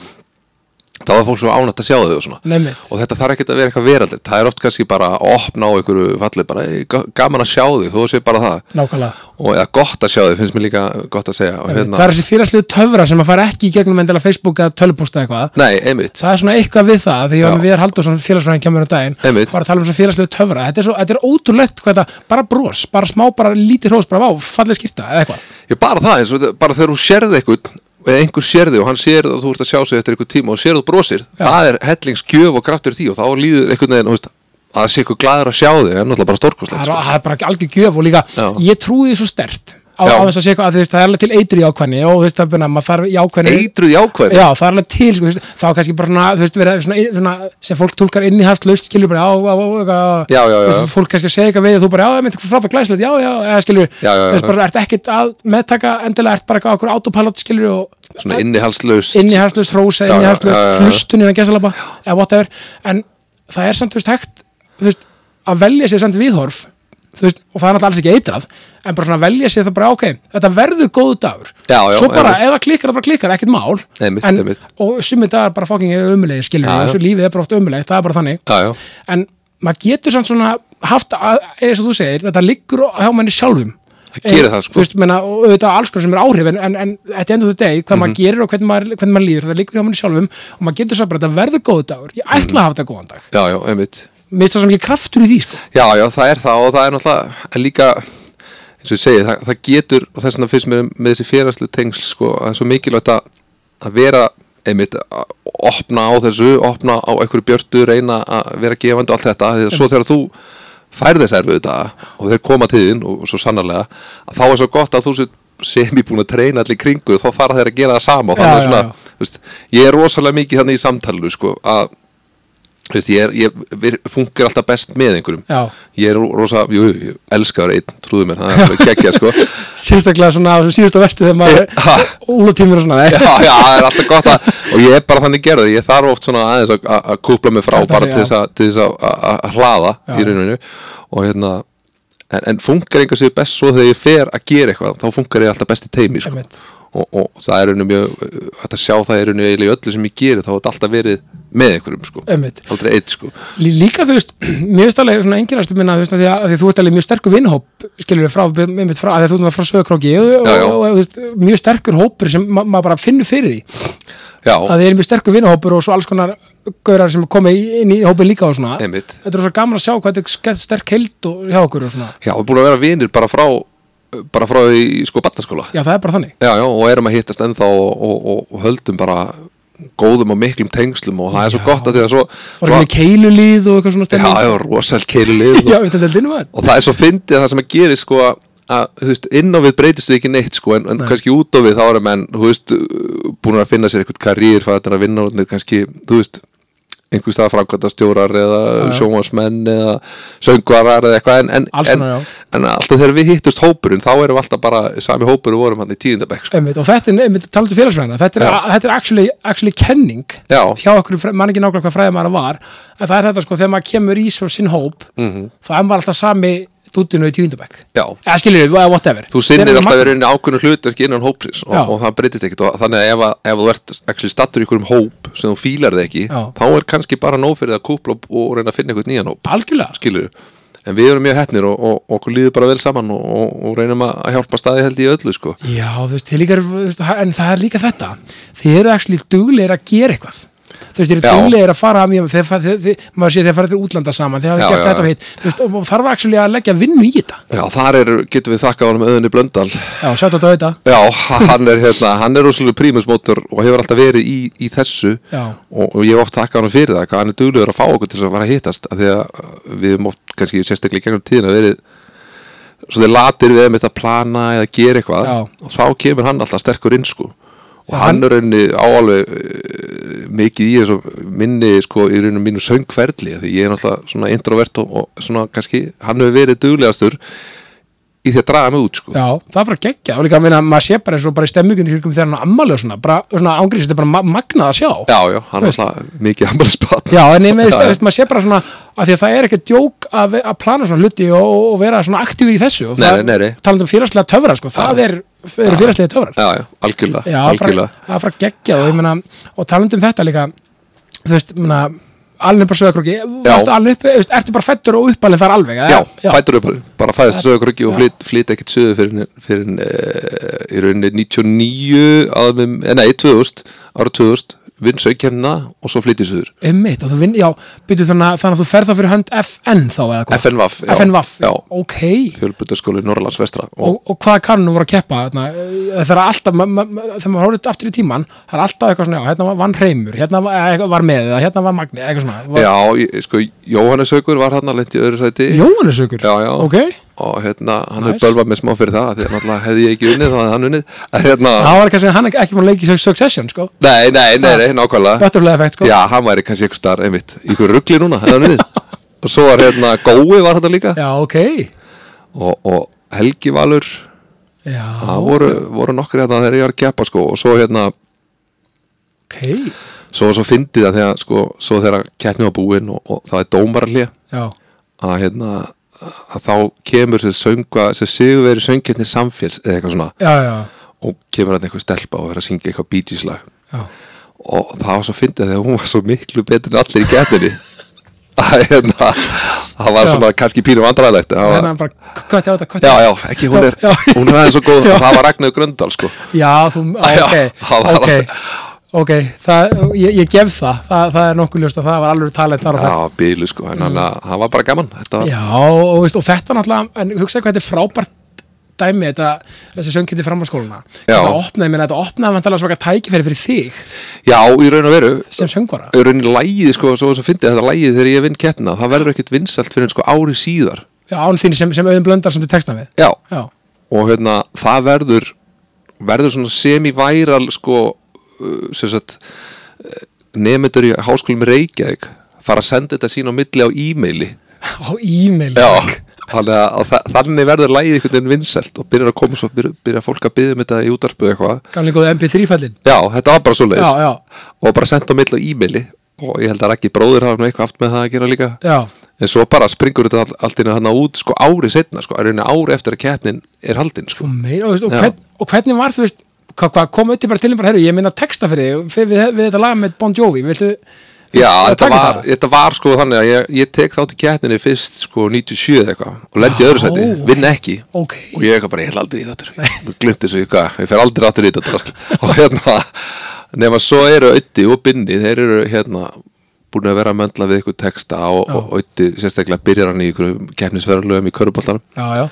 þá er fólk svo ánætt að sjá þau og svona nefnitt og þetta þarf ekkert að vera eitthvað veraldið það er oft kannski bara að opna á einhverju fallið bara "Ey, ga- gaman að sjá þig, þú sé bara það nákvæmlega, og eða gott að sjá þig, finnst mér líka gott að segja og Einmitt. hérna, það er þessi fyrarslið töfra sem að fara ekki í gegnum endilega Facebook eða tölupósta eitthvað nei, einmitt það er svona eitthvað við það, því ég var Já. með Viðar Halldórsson félagsfræðin kemur um daginn, Einmitt. var að tala um þessu félagslegu töfra, þetta er, svo, þetta er ótrúlegt hvað þetta, bara bros, bara smá, bara lítið hrós, bara vá, fallið skipta, eða eitthvað ég bara það, eins og þetta- bara þegar þú sérði eitthvað eða einhver sérði og hann sér að þú ert að sjá sig eftir einhver tíma og sér að þú brosir það er hellingskjöf og kraftur í því og þá líður einhvern veginn, þú veist, að það sé eitthvað glæður að sjá þig er náttúrulega bara það stórkoslegt er, sko. það er bara algjör gjöf og líka Já. ég trúi því svo stert á, Já. á þess að sé eitthvað að þú veist, það er alveg til eitri ákvæðni og þú veist, það er bara, maður þarf í ákvæðni eitruð jákvæðin, já, það er alveg til, sko, þú veist, þá er kannski bara svona, þú veist, vera, svona, svona, sem fólk tólkar inn í hans laust, skilur bara, á, á, á, eitthvað, Já, já, já, þú veist, já. fólk kannski að segja eitthvað við og þú bara, já, ég myndi frábæk glæslegt, já, já, eða, skilur, Já, já, já, þú veist, já. bara, ert ekkit að meðtaka endilega, ert bara eitthvað okkur autopilot, skilur, og svona innihalslaust inn í halslaust hrósa, inn Já, í já, já, já, halslaust já. hlustun innan gesalaba, eða whatever en það er samt, þú veist, hægt þú veist, að velja sér samt viðhorf þú veist, og það er náttúrulega alls ekki eitrað en bara svona velja sér það bara, ok, þetta verður góð dagur, Já, já, svo bara, einmitt. ef það klikkar það bara klikkar, ekkert mál Einmitt, en, einmitt. og sumið dagar bara fóking umulegir, skilur Já, við, já. þessu lífið er bara oft umulegt það er bara þannig, já, já, en maður getur samt svona haft, að, eins og þú segir þetta liggur á- hjá manni sjálfum Eh, það gerir það þú sko veist, menna, og auðvitað alls konar sem er áhrif en, en, en þetta endur þau deg, Mhm. hvað maður gerir og hvernig maður, hvernig maður líður, það liggur hjá manni sjálfum og maður getur svo bara þetta verður góð dagur ég ætla Mhm. að hafa þetta góðan dag, já, já, einmitt mér finnst það sem ekki kraftur í því sko. Já, já, það er það og það er náttúrulega en líka, eins og ég segi, það, það getur og þess vegna finnst mér með þessi félagslega tengsl sko, að það er svo mikilvægt að, að vera einmitt, að opna á þessu opna á einhverju björtu, reyna að vera gefandi og allt þetta, því að svo þegar þú færð þess erfið þetta og þeir koma til þín og svo sannarlega, að þá er svo gott að þú sér sem ég búin að treyna allir í kringu þá fara þeir að gera það sama og Já, þannig já, svona, já. þú Veist, ég er rosalega mikið þannig í samtalinu sko, að þú veist, ég, er, ég vir, funkar alltaf best með einhverjum já, ég er rosa, jú, jú, ég elska að vera einn trúðu mér, það er alveg geggja sko já, sérstaklega svona á þessum síðustu vestu þegar maður Ha. úlatímur og svona nei. já, það er alltaf gott að og ég er bara þannig gerður, ég þarf oft svona aðeins að- að að kúpla mig frá Þetta bara sé, til þess að- til þess að að- að hlaða í rauninu og hérna en, en funkar einhver sér best svo þegar ég fer að gera eitthvað, þá funkar ég alltaf best í teimi sko. Einmitt. og, og það er rauninu mjög uh, hægt að sjá það er rauninu eiginlega í öllu sem ég geri þá er þetta alltaf verið með einhverjum sko Einmitt. aldrei eitt sko, Lí- líka þú veist, mér finnst alveg svona enginnast minna, þú veist, af því að, af því að þú ert alveg mjög sterkur vinnhóp, skilur við frá, einmitt frá af því að þú ert frá sögurkróki og, Já, já. og, og, þú veist, mjög sterkur hópur sem ma maður bara finnur fyrir því já, að þeir eru mjög sterkur vinnahópur og svo alls konar gaurar sem komi í- inn í hópin líka og svona einmitt Þetta er svo gaman að sjá hvað þetta er sterk heild og hjá okkur og svona já, við erum búin að vera vinir bara frá bara frá í sko barnaskóla Já, það er bara þannig já, já, og erum að hittast ennþá og, og, og, og höldum bara góðum og miklum tengslum og það er svo Já. gott að því að svo, Og ekki svo með keilulíð og eitthvað svona já, stemming já, rosal keiri Já, lið og, við þetta er dynum að og það er svo fyndið að það sem að gerir sko að þú veist, inn á við breytist við ekki neitt sko, en, en kannski út á við þá erum menn þú veist, búin að finna sér eitthvað karýr fæðan að vinna úr kannski, þú veist einhvers staðar framkvæmtastjórar eða já. sjónvarsmenn eða söngvarar eða eitthvað en, en, Alls en, konar, já. en alltaf þegar við hittust hópurinn þá erum við alltaf bara sami hópur og vorum hann í tíðindabæk sko. Einmitt, og þetta er, einmitt, talandi félagsfræðina þetta er, Já. a- þetta er actually, actually kenning Já. hjá okkur, fræ- man ekki nákvæmlega hvað fræði maður var en það er þetta sko, þegar maður kemur í svo sinn hóp, Mhm. -hmm. þá er maður alltaf sami dúttinu í tíundabæk Já, eða skilur við, whatever þú sinnir Þeir eru alltaf magn- verið einni ákveðnu hlutverki innan hópsins og, Já. og það breytist ekkit og þannig að ef, að- ef þú ert actually stattur í einhverjum hóp sem þú fílar þig ekki Já. þá er kannski bara nóg fyrir það að kúpla og, og reyna að finna einhvern nýjan hóp Algjörlega, skilur en við erum mjög heppnir og, og, og okkur líður bara vel saman og, og, og reynum að að hjálpa staði held í öllu sko. Já, þú veist, þið líka, eru- þú veist, en það er líka þetta Þið eru actually duglegir að gera eitthvað Þú veist, þið eru Já. duglegir að fara að mér Þeir, fa- þeir, þeir, maður sé þeir fara til útlanda saman Þeir hafa Já, gert já, þetta og já. hitt Þú veist, og og þarf actually að leggja vinnu í þetta Já, þar er, getum við þakkað honum auðinni Blöndal Já, sjátt á þetta Já, hann er hérna, hann er rosalega prímusmótor og hefur alltaf verið í, í þessu Já, og, og ég hef oft takkað hann fyrir það hvað hann er duglegur að fá okkur til þess að fara að hittast af því að uh, við hefum oft kannski sérstaklega í gegnum tíðina verið svo þeir latir við með þetta að plana eða gera eitthvað Já. og þá kemur hann alltaf sterkur inn sko og Já, hann er rauninni á alveg uh, mikið í þessu minni sko í rauninu mínu söngferli af því ég er náttúrulega svona introvert og, og svona kannski hann hefur verið duglegastur í því að draga mig út sko já, það er bara geggja Og líka, minna, maður sé bara eins og bara í stemmingunni Hjörgum þegar hann ammali og svona Bara, svona ángriðs, þetta er bara ma magnað að sjá já, já hann er Veist. alltaf mikið ambalspann Já, en ég með Já, já. þess, maður sé bara svona að því að það er ekkert djók að, ve- að plana svona hluti og, og vera svona aktífur í þessu og Nei, það, nei, nei, nei. talandi um félagslega töfra, sko, það Já. er, er félagslega töfrar já, já, algjörlega, Já, algjörlega. bara, það er bara geggjað og, ég meina, og talandi um þetta líka þú veist, muna, alveg bara sögurkróki varstu alveg upp, veist, ertu bara fættur og uppalinn þar alveg eða? Já, fættur upp bara fæðist sögurkröki og Já. flyt, flyt ekkert sögur fyrir, fyrir uh, í rauninni 99 að, við- eh, nei, 2000, ára 2000 vinn sögkjæmna og svo flytið sögur Einmitt, og þú vinn, já, byrju þannig, að- þannig að þú ferð þá fyrir hönd FN þá eða hvað? FNVAF, já, FNVAF, já, ok fjölbutaskóli Norrlands vestra og, og, og hvað kannu voru að keppa þarna, eh, það er alltaf, ma- ma- ma- þegar maður horfður aftur í tíman það er alltaf eitthvað svona, já, hérna var- vann hreimur hérna var, eh, var með, eða hérna var magni eitthvað svona, var, já, ég, sko, Jóhannes Haugur var hann að lendi öðru sæti Jóhannesaukur Já, já. ok, og hérna, hann Nice. hefur bölvað með smá fyrir það því að náttúrulega hefði ég ekki unnið þá hefði hann unnið en hérna, það var kannski hann ekki- ekki búin að leiki Succession, sko, nei, nei, nei, nei, nákvæmlega butterfly effect, sko já, hann væri kannski ykkur starf, einmitt í ykkur ruggli núna, hefði hann unnið og svo var hérna, Gói var þetta líka já ok, og, og Helgi Valur já, það voru, voru nokkri hérna þegar ég var að keppa sko, og svo hérna, ok svo, svo fyndið að þegar sko, svo þegar keppnið var búin og, og það er dómarallið já, að hérna að þá kemur þessi sönga þessi sigurveri söngjarni samféls eða eitthvað svona já, já, og kemur hann eitthvað stelpa og er að syngja eitthvað Bee Gees lag já og það var svo fyndið þegar hún var svo miklu betur en allir í getninni að hérna það var Já. svona kannski pínum andræðlegt þannig að var, Hérna bara, hvað er þetta, hvað já, er já, ekki hún er Já. hún er aðeins svo góð Já. það var Ragnar Gröndal sko já, þú, á, Já, ok, það var ok alveg- ok, það, ég, ég gef það. það það er nokkuð ljóst að það var alveg talent þar á já, bílu sko, en hann það var bara gaman þetta var, Mm. Já, og, veist, og þetta náttúrulega, en hugsaðu hvað þetta er frábært dæmi, þetta, þessi söngkindi framhalskóluna. Já. Þetta opnaði, minna, þetta opnaði vantalega svaka tækifæri fyrir þig já, í raun og veru sem söngvara. í raun og lægið sko, svo, svo fyndið þetta lægið þegar ég vinn keppna, það verður ekkert vinsalt fyrir en sko ári síðar Já, án þín sem, sem auðin blöndar sem þið texta við. já, Já, og hérna, það verður verður svona semi-væral sko, uh, sem sagt uh, nemendur í háskólum í Reykjavík fara að senda þetta sín á milli á e-maili á e-mail. þannig að, að þa- þannig verður lægið einhvern veginn vinsælt og byrjar að koma svo byrjar, byrjar fólk að byggja um þetta í útarpu eitthvað Gamli góðu MP3-fællin. já, þetta var bara svo Já, leiðis já, og bara sendt á milli á e-maili og ég held að ekki bróður hafa nú eitthvað haft með það að gera líka já, en svo bara springur þetta all, allt inn að þarna út sko ári setna sko, er rauninni ári eftir að keppnin er haldin sko þú meina, og, veist, og, Já. hvern, og hvernig var þú veist, hvað hva, kom auðvitað bara til þeim bara, herru, ég minna texta fyrir þig, fyrir við, við þetta lag með Bon Jovi, viltu, Já, að þetta taka var, það? þetta var sko þannig að ég, ég tek þátt í keppninni fyrst sko 97 eða eitthvað og lendi í öðru Já. sæti, vinn ekki ok, og ég eitthvað bara, ég ætla aldrei í þetta og glimt þessu, ég, hvað, ég fer aldrei aftur í þetta drast. og hérna, nema svo eru Ötti og Binni, þeir eru hérna búin að vera að möndla við ykkur texta og, og Ötti sérstaklega byrjar hann í ykkur keppnisverðarlöfum í köruboltanum já, já,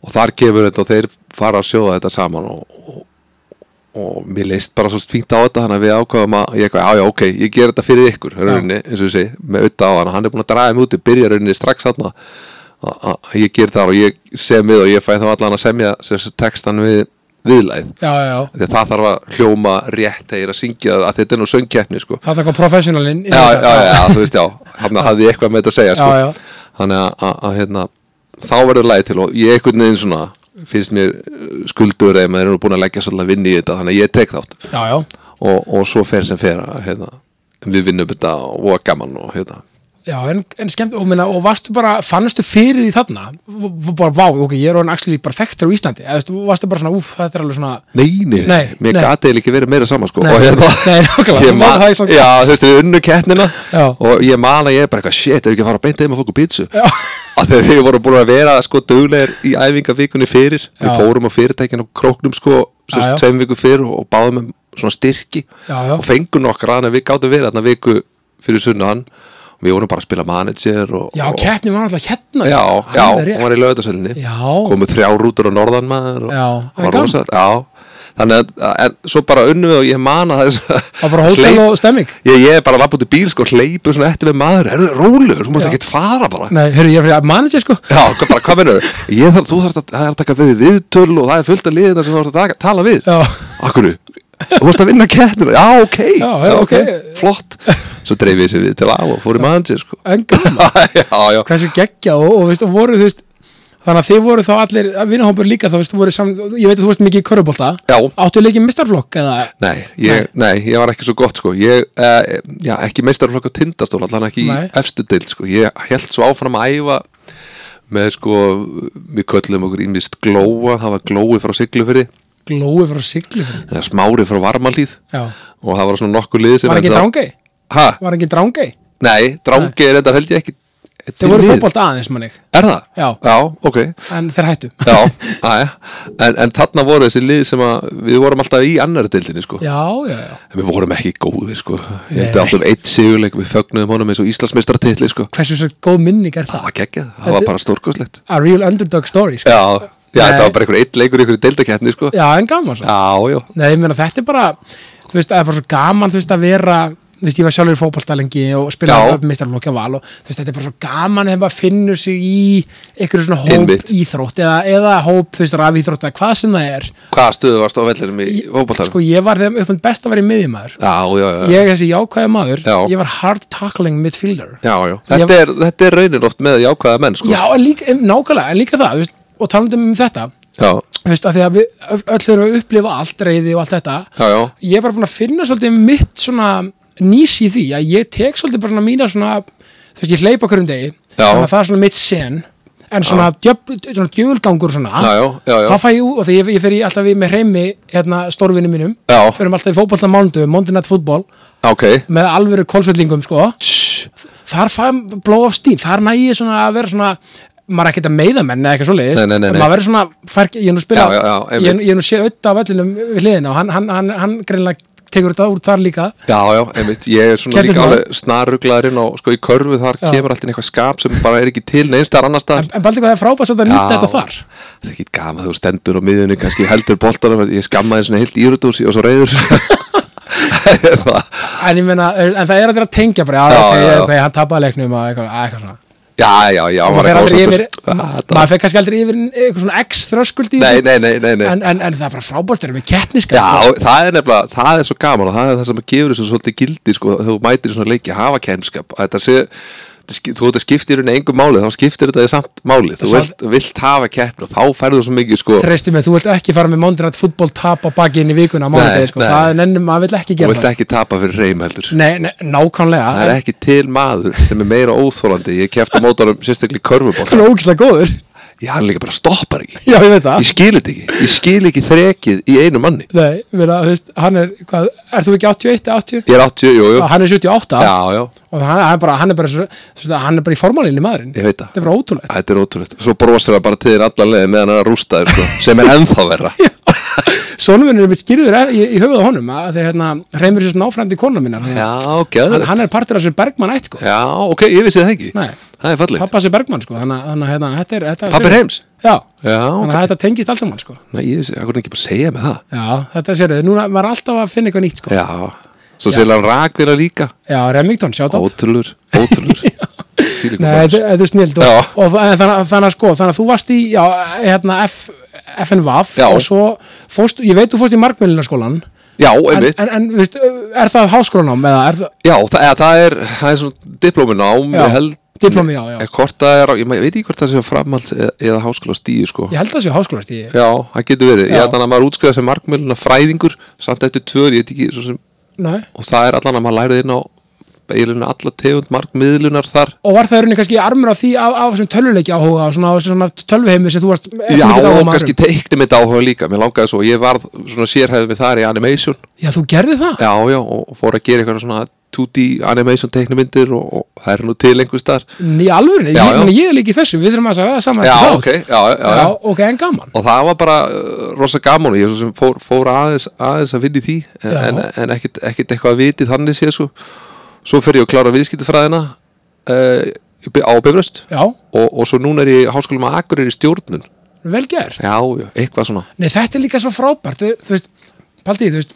og þar kemur þetta og þeir fara að sjóða þetta saman og, og, og mér leist bara svo fínt á þetta þannig að við ákvaðum að ég eitthvað, já já ok, ég ger þetta fyrir ykkur rauninni, eins og ég segi, með auðvitað á hann hann er búin að draga mig úti, byrja rauninni strax hann að ég ger það og ég sem við og ég fæ þá allan að semja sem sagt textan við viðlæð já, já, því að það þarf að hljóma rétt þegar ég er að syngja það, að þetta er nú söngkeppni sko. það er eitthvað professionalinn. já, já, já, já, þú veist já hann hafði ég eitthvað með þetta að segja sko já, já. þannig að, að, að hérna, þá verður læg til og ég einhvern veginn svona finnst mér uh, skuldur eða maður er nú búin að leggja svolítið að vinna í þetta þannig að ég tek þátt Já, já, og, og svo fer sem fer að hérna, við vinnum þetta og var gaman og hérna já, en, en skemmt, og, minna, og varstu bara, fannastu fyrir því þarna, V- v- bara, vá, ok, ég er orðin axli bara þekktur á Íslandi, eða veistu, varstu bara svona, úf, þetta er alveg svona, Nei, nei, Nei, mér nei. gati eða ekki verið meira saman sko Nei, og hérna, nei, nákvæmlega, ég þú man, varð það í samt- já, þú veist, við unnu keppnina Já. og ég man að ég er bara eitthvað, shit, er ekki að fara að beinta þeim að fóku pítsu Já. að þegar við vorum búin að vera sko duglegir í æfingavíkunni fyrir Já. við fórum á fyrirtækinu á króknum sko sem Já, já. sagt, tveim viku fyrir og báðum um svona styrki Já, já. og fengum nokkra þannig að við gátum verið þarna viku fyrir sunnan og við vorum bara að spila manager og, já, og, keppnum var alltaf hérna, já, já, Alveg rétt. hún var í lögðarsölinni já, komu þrjá rútur á norðan maður og Já, það en var gaman. rosa já, þannig að, að en, svo bara unnum við og ég man að þess það var bara hótel og stemming, ég, ég er bara að lappa út í bíl sko hleypur svona eftir með maður, er það rólegur þú mátt Já. ekki fara bara nei, hörru, ég er fyrir að manager, sko, já, hvað- bara hvað minnur, ég þarf, þú þarf að, það er að taka við viðtöl og það er fullt af liðina sem þú þarf að taka, tala við já, akkur, þú varst að vinna kettina já, ok, Já, já, ok. flott svo dreif ég sér við til á og fór í manager sko en gaman, já, já, hversu geggja, og, og veist, og voru, þú veist, þannig að þið voru þá allir, vinahópur líka, þá veist, voru saman, ég veit að þú veist mikið í körubólta, já áttu leikið mistarflokk, eða, Nei ég, nei. ég var ekki svo gott sko ég, uh, já, ekki meistarflokk á tindastól allan ekki Nei. í efstu deild sko ég held svo áfram að æfa með sko, við köllum okkur ímist glóa, það var glói frá Siglufyrri glói frá sigli, eða smári frá Varmalíð já, og það var svona nokkur lið sem var ekki endaði- drangi, ha? var ekki drangei Nei, drangi er þetta held ég ekki til þeir voru liðs. fótbolt aðeins mannig Er það? já, Já, ok en þeir hættu Já, aðja en, en þarna voru þessi lið sem að við vorum alltaf í annar deildinni sko já, já, já, En Við vorum ekki góði sko Ég held Nei. að alltaf eitt sigurleik Við fögnuðum honum eins og Íslandsmeistartitli sko hversu svo góð minning er Það það var geggjað, það var bara stórkoslegt a real underdog story sko. Já, já Nei. þetta var bara einhver eitt leikur í einhverju deildakeppni sko Já, já, en gaman svo já, Nei, ég meina þetta er bara þú veist, það er bara svo gaman þú veist að vera þú veist, ég var sjálfur í fótballstælingi og Já. spilaði meistarlokja val og þú veist, þetta er bara svo gaman þegar maður finnur sig í einhverju svona hóp Einmitt. íþrótt eða, eða hóp, þú veist, rafíþrótt eða hvað sem það er hvaða stöðu varst á vellinum í fótballtarum? sko, ég var þeim uppnátt best að vera í miðjumæður Já, já, já, ég er þessi jákvæða maður, Já. ég var hard tackling midfielder já, já. Þetta, er, þetta er raunin oft með jákvæða menn sko já, en líka, em, nákvæmlega, en líka það þú veist, og talandum um þetta já, þú veist, að því að við öll öll þurfum að upplifa allt reyði og allt þetta já, já, ég er bara búin að finna svolítið mitt svona nýs í því að ég tek svolítið bara svona mína svona þú veist ég hleypa hverjum degi Já. þannig að það er svona mitt sen en svona, djöfl, svona djöfulgangur svona já, já, já, já. þá fæ ég út og því ég, ég fer í alltaf í- með hreimi hérna stórvinni mínum Já. förum alltaf í fótbollna mánudu, Monday Night Football ok með alvöru kólsvellingum sko Tss, þar fæ blow of steam, þar næ ég svona að vera svona maður er ekkert að meiða menn eða eitthvað svo leiðis Nei, nei, nei, nei. maður verður svona, fær, ég er nú spila Já, já, já, ég, er einmitt. nú- ég er nú sé auðvitað á vellinum við hliðina og hann, hann, hann, hann greinlega tekur þetta úr þar líka Já, já, einmitt, ég er svona Gerðu líka það. alveg snaruglaðurinn og sko í körfu þar Já. kemur alltaf eitthvað skap sem bara er ekki til neinstar annars staðar en, en Baldur, það er frábært svolítið að Já. nýta þetta þar Það er ekki gaman þú stendur á miðjunni kannski heldur boltanum, ég skammaði svona heilt írutúsi og svo reyður Það- en, ég meina, en það er allir að tengja bara, já, Já, ok, já, já. ok, hann tapaði leiknum og eitthvað, að eitthvað svona Já, já, já maður var fer eitthvað aldrei ósáttur. yfir, Ah, þetta- maður fer kannski aldrei yfir eitthvað svona x þröskuld í Nei, þessu. nei, nei, nei, nei. en, en, en það er bara frábært, það er með kettniska Já, það er nefnilega, það er svo gaman og það er það sem gefur þessu svolítið gildi sko, þegar þú mætir í svona leiki að hafa kemskap að þetta sé, þetta ski- þú þetta skiptir henni engu máli, þá skiptir þetta þið samt máli þú Samt- vilt, vilt hafa keppn og þá færðu svo mikið sko, treystu mig, þú vilt ekki fara með mondirætt fútból tap á baki inn í vikuna á mánudegi, sko, nei. það er nennum, maður vill ekki þú gera vilt ekki tapa fyrir reym heldur Nei, nei, nákvæmlega það er ekki til maður sem er meira óþólandi ég kefti á mótorum sérstaklega í körfuból Hann er ógislega góður já, hann líka bara stoppar ekki Já, ég veit það ég skil þetta ekki, ég skil ekki þrekið í einu manni Nei, ég meina, þú veist, hann er, hvað, er þú ekki 81 eða 80? ég er 80, jú, jú, Já, hann er 78 já, já og hann, hann, er bara, hann er bara, svo, svo, hann er bara í formálinni maðurinn ég veit það Þetta er bara ótrúlegt Þetta er ótrúlegt Svo brosir það bara til þér allan leiðin meðan hann er að rústa þér sko, sem er ennþá verra Sónumvinnur er mitt skýrður í, í höfuð á honum að þegar hérna, hreymur sér náfrændi kona minnar hann, Já, hann, gæður hann er partur af sér Bergmann ætt sko Já, ok, ég vissi það ekki Nei, Það er fallegt pappa sér Bergmann sko þannig að- þannig að hérna, þetta er þetta Pappi heims Já, Já, þannig ok að þetta tengist allt saman sko Nei, ég vissi, það er ekki bara að segja með það Já, þetta sér þau, núna maður er alltaf að finna eitthvað nýtt sko Já, Já, svo sér hann rakvina líka Remington, sjá það Ótrúlur, ótrúlur Þvílíkur Nei, bragur. þetta þetta er snild og, Já. og þa- en þannig, að- þannig að sko, þannig að þú varst í já, hérna F, FNVAF Já. og svo fórst, ég veit þú fórst í markmjölunarskólan en, Já, en, einmitt en þú veist, er það háskólanám eða er það Já, það, eða, það er, það er svona diplóminám Já, ég held diplómi, já, já, Eða Hvort það er, á- ég, ma- ég veit ekki hvort það sé á framhalds eða, eða háskóla stíu sko ég held að sé háskólast ég, Já, það getur verið. Já. Ég held að maður útskriða sem markmjöluna fræðingur samt eftir tvör, ég veit ekki, svo sem, nei, og það er allan að maður lærið inn á eiginlega alla tegund markmiðlunar þar. og var það í rauninni kannski armur á því af, af þessum tölvuleiki áhuga og svona, á þessu svona tölvuheimi sem þú varst Já, og kannski kannski... teiknum mitt áhuga líka, mér langaði svo, ég varð svona sérhæfið með þar í animation, já, þú gerði það já, já, og fór að gera eitthvað svona 2D animation teiknumyndir og, og það er nú til einhvers þar. í alvöru, ég, Já, já. ég, ég er líka í þessu við þurfum að ræða saman Já, eftir þátt. ok, já, já, já. já, ok, en gaman Og það var bara uh, rosa gaman og ég svo sem fór, fór aðeins, aðeins að vinna í því en, Já. en, en ekkit, ekkit eitthvað að viti þannig sé sko. Svo fer ég að klára viðskiptafræðina uh, á Bifröst já, og, og svo núna er ég í háskólum að Akureyri í stjórnun vel gert Já, já, eitthvað svona Nei, þetta er líka svo frábært, þú- þú veist, Paldi, þú veist,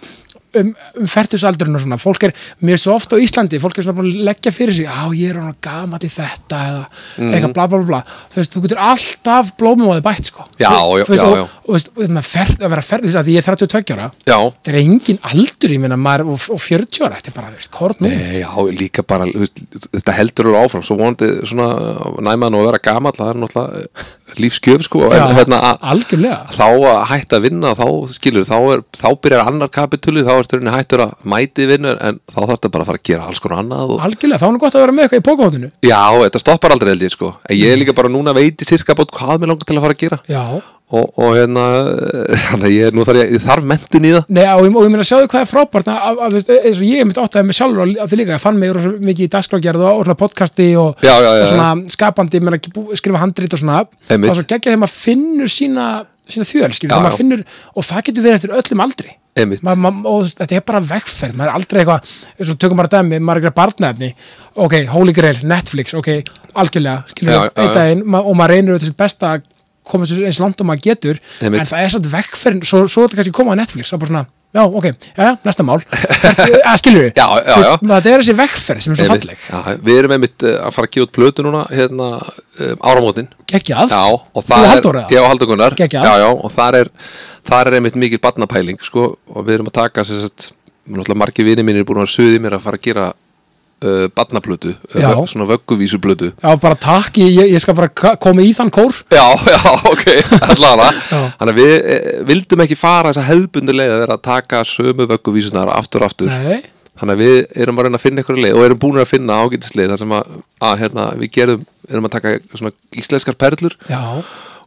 um, um fertusaldurinn og svona, fólk er, mér er svo oft á Íslandi, fólk er svona búin að leggja fyrir sig, á, ég er hann gamat í þetta eða Mhm. eitthvað bla bla bla, bla, þú veist, þú getur alltaf blómum á þið bætt, sko. Já, Þú- já, þú veist, já, og- já. Og þú veist, og maður ferð, að vera ferð, þú veist, að því ég er 32 ára, Já, þetta er engin aldur, ég meina, maður, og, og 40 ára, þetta er bara, þú veist, kort nú. Nei, já, líka bara þú veist, þetta heldur alveg áfram, svo vonandi svona uh, næman og vera gamall, það er náttúrulega uh, lífsgjöf sko, en Já. hérna að Algjörlega. þá að hætta að vinna þá skilur, þá, er, þá byrjar annar kapitúli, þá ertu rauninni hættur að mæti vinnur en þá þarf þetta bara að fara að gera alls konar annað og... algjörlega, þá er nú gott að vera með eitthvað í pókahóttinu Já, þetta stoppar aldrei held ég sko en ég er líka bara núna veiti sirka bótt hvað mér langar til að fara að gera já, og, og hérna, hérna ég, er- nú þarf ég, ég þarf mentun í það Nei, og, ég- og ég meina sjáðu hvað er frábært að, að, að, veist, e, eins og ég mynd áttaði mig sjálfur á- á því líka, ég fann mig rosa mikið í dagskrágerð og, og svona podcasti og, Já, já, já, og já. svona skapandi, ég meina ekki bú- skrifa handrit og svona, það Einmitt. er svo geggja þegar maður finnur sína, sína þjöl, skilur, Já, þegar já. maður finnur og það getur verið eftir öllum aldri einmitt, ma, ma, og þú veist, þetta er bara vegferð maður er aldrei eitthvað, eins og tökum bara dæmi maður er eitthvað barnaefni, ok, Holy Grail Netflix, ok, algjörlega skilur Já, við, já, einn já. daginn, ma- og maður reynir auðvitað sitt besta að koma sér eins langt og maður getur Einmitt. en það er samt vegferðin, svo, svo er þetta kannski koma á Netflix, það er bara svona, já, ok, já, já, næsta mál Hvert- að skilur við, Já, já, Þú veist, já. þetta er þessi vegferð sem er svo einmitt. falleg, Já, Við erum einmitt eh, að fara að gefa út plötu núna hérna um, áramótin geggjað Já, og Þú og það Halldór, er eða? Já, Haldur Gunnar Geggjað. Já, já, og þar er, þar er einmitt mikið barnapæling sko, og við erum að taka sem sagt, náttúrulega margir vini mínir er búin að vera suðið mér að fara að gera uh, barnaplötu Já. uh, svona vögguvísuplötu já, bara takk, ég, ég- ég skal bara ka- koma í þann kór Já, já, ok, allavega Já. Þannig að við eh, vildum ekki fara þessa hefðbundu leið að vera að taka sömu vögguvísunar aftur og aftur nei, Þannig að við erum að reyna að finna einhverju leið og erum búin að finna ágætisleið þar sem að, að hérna, við gerum, erum að taka svona íslenskar perlur já,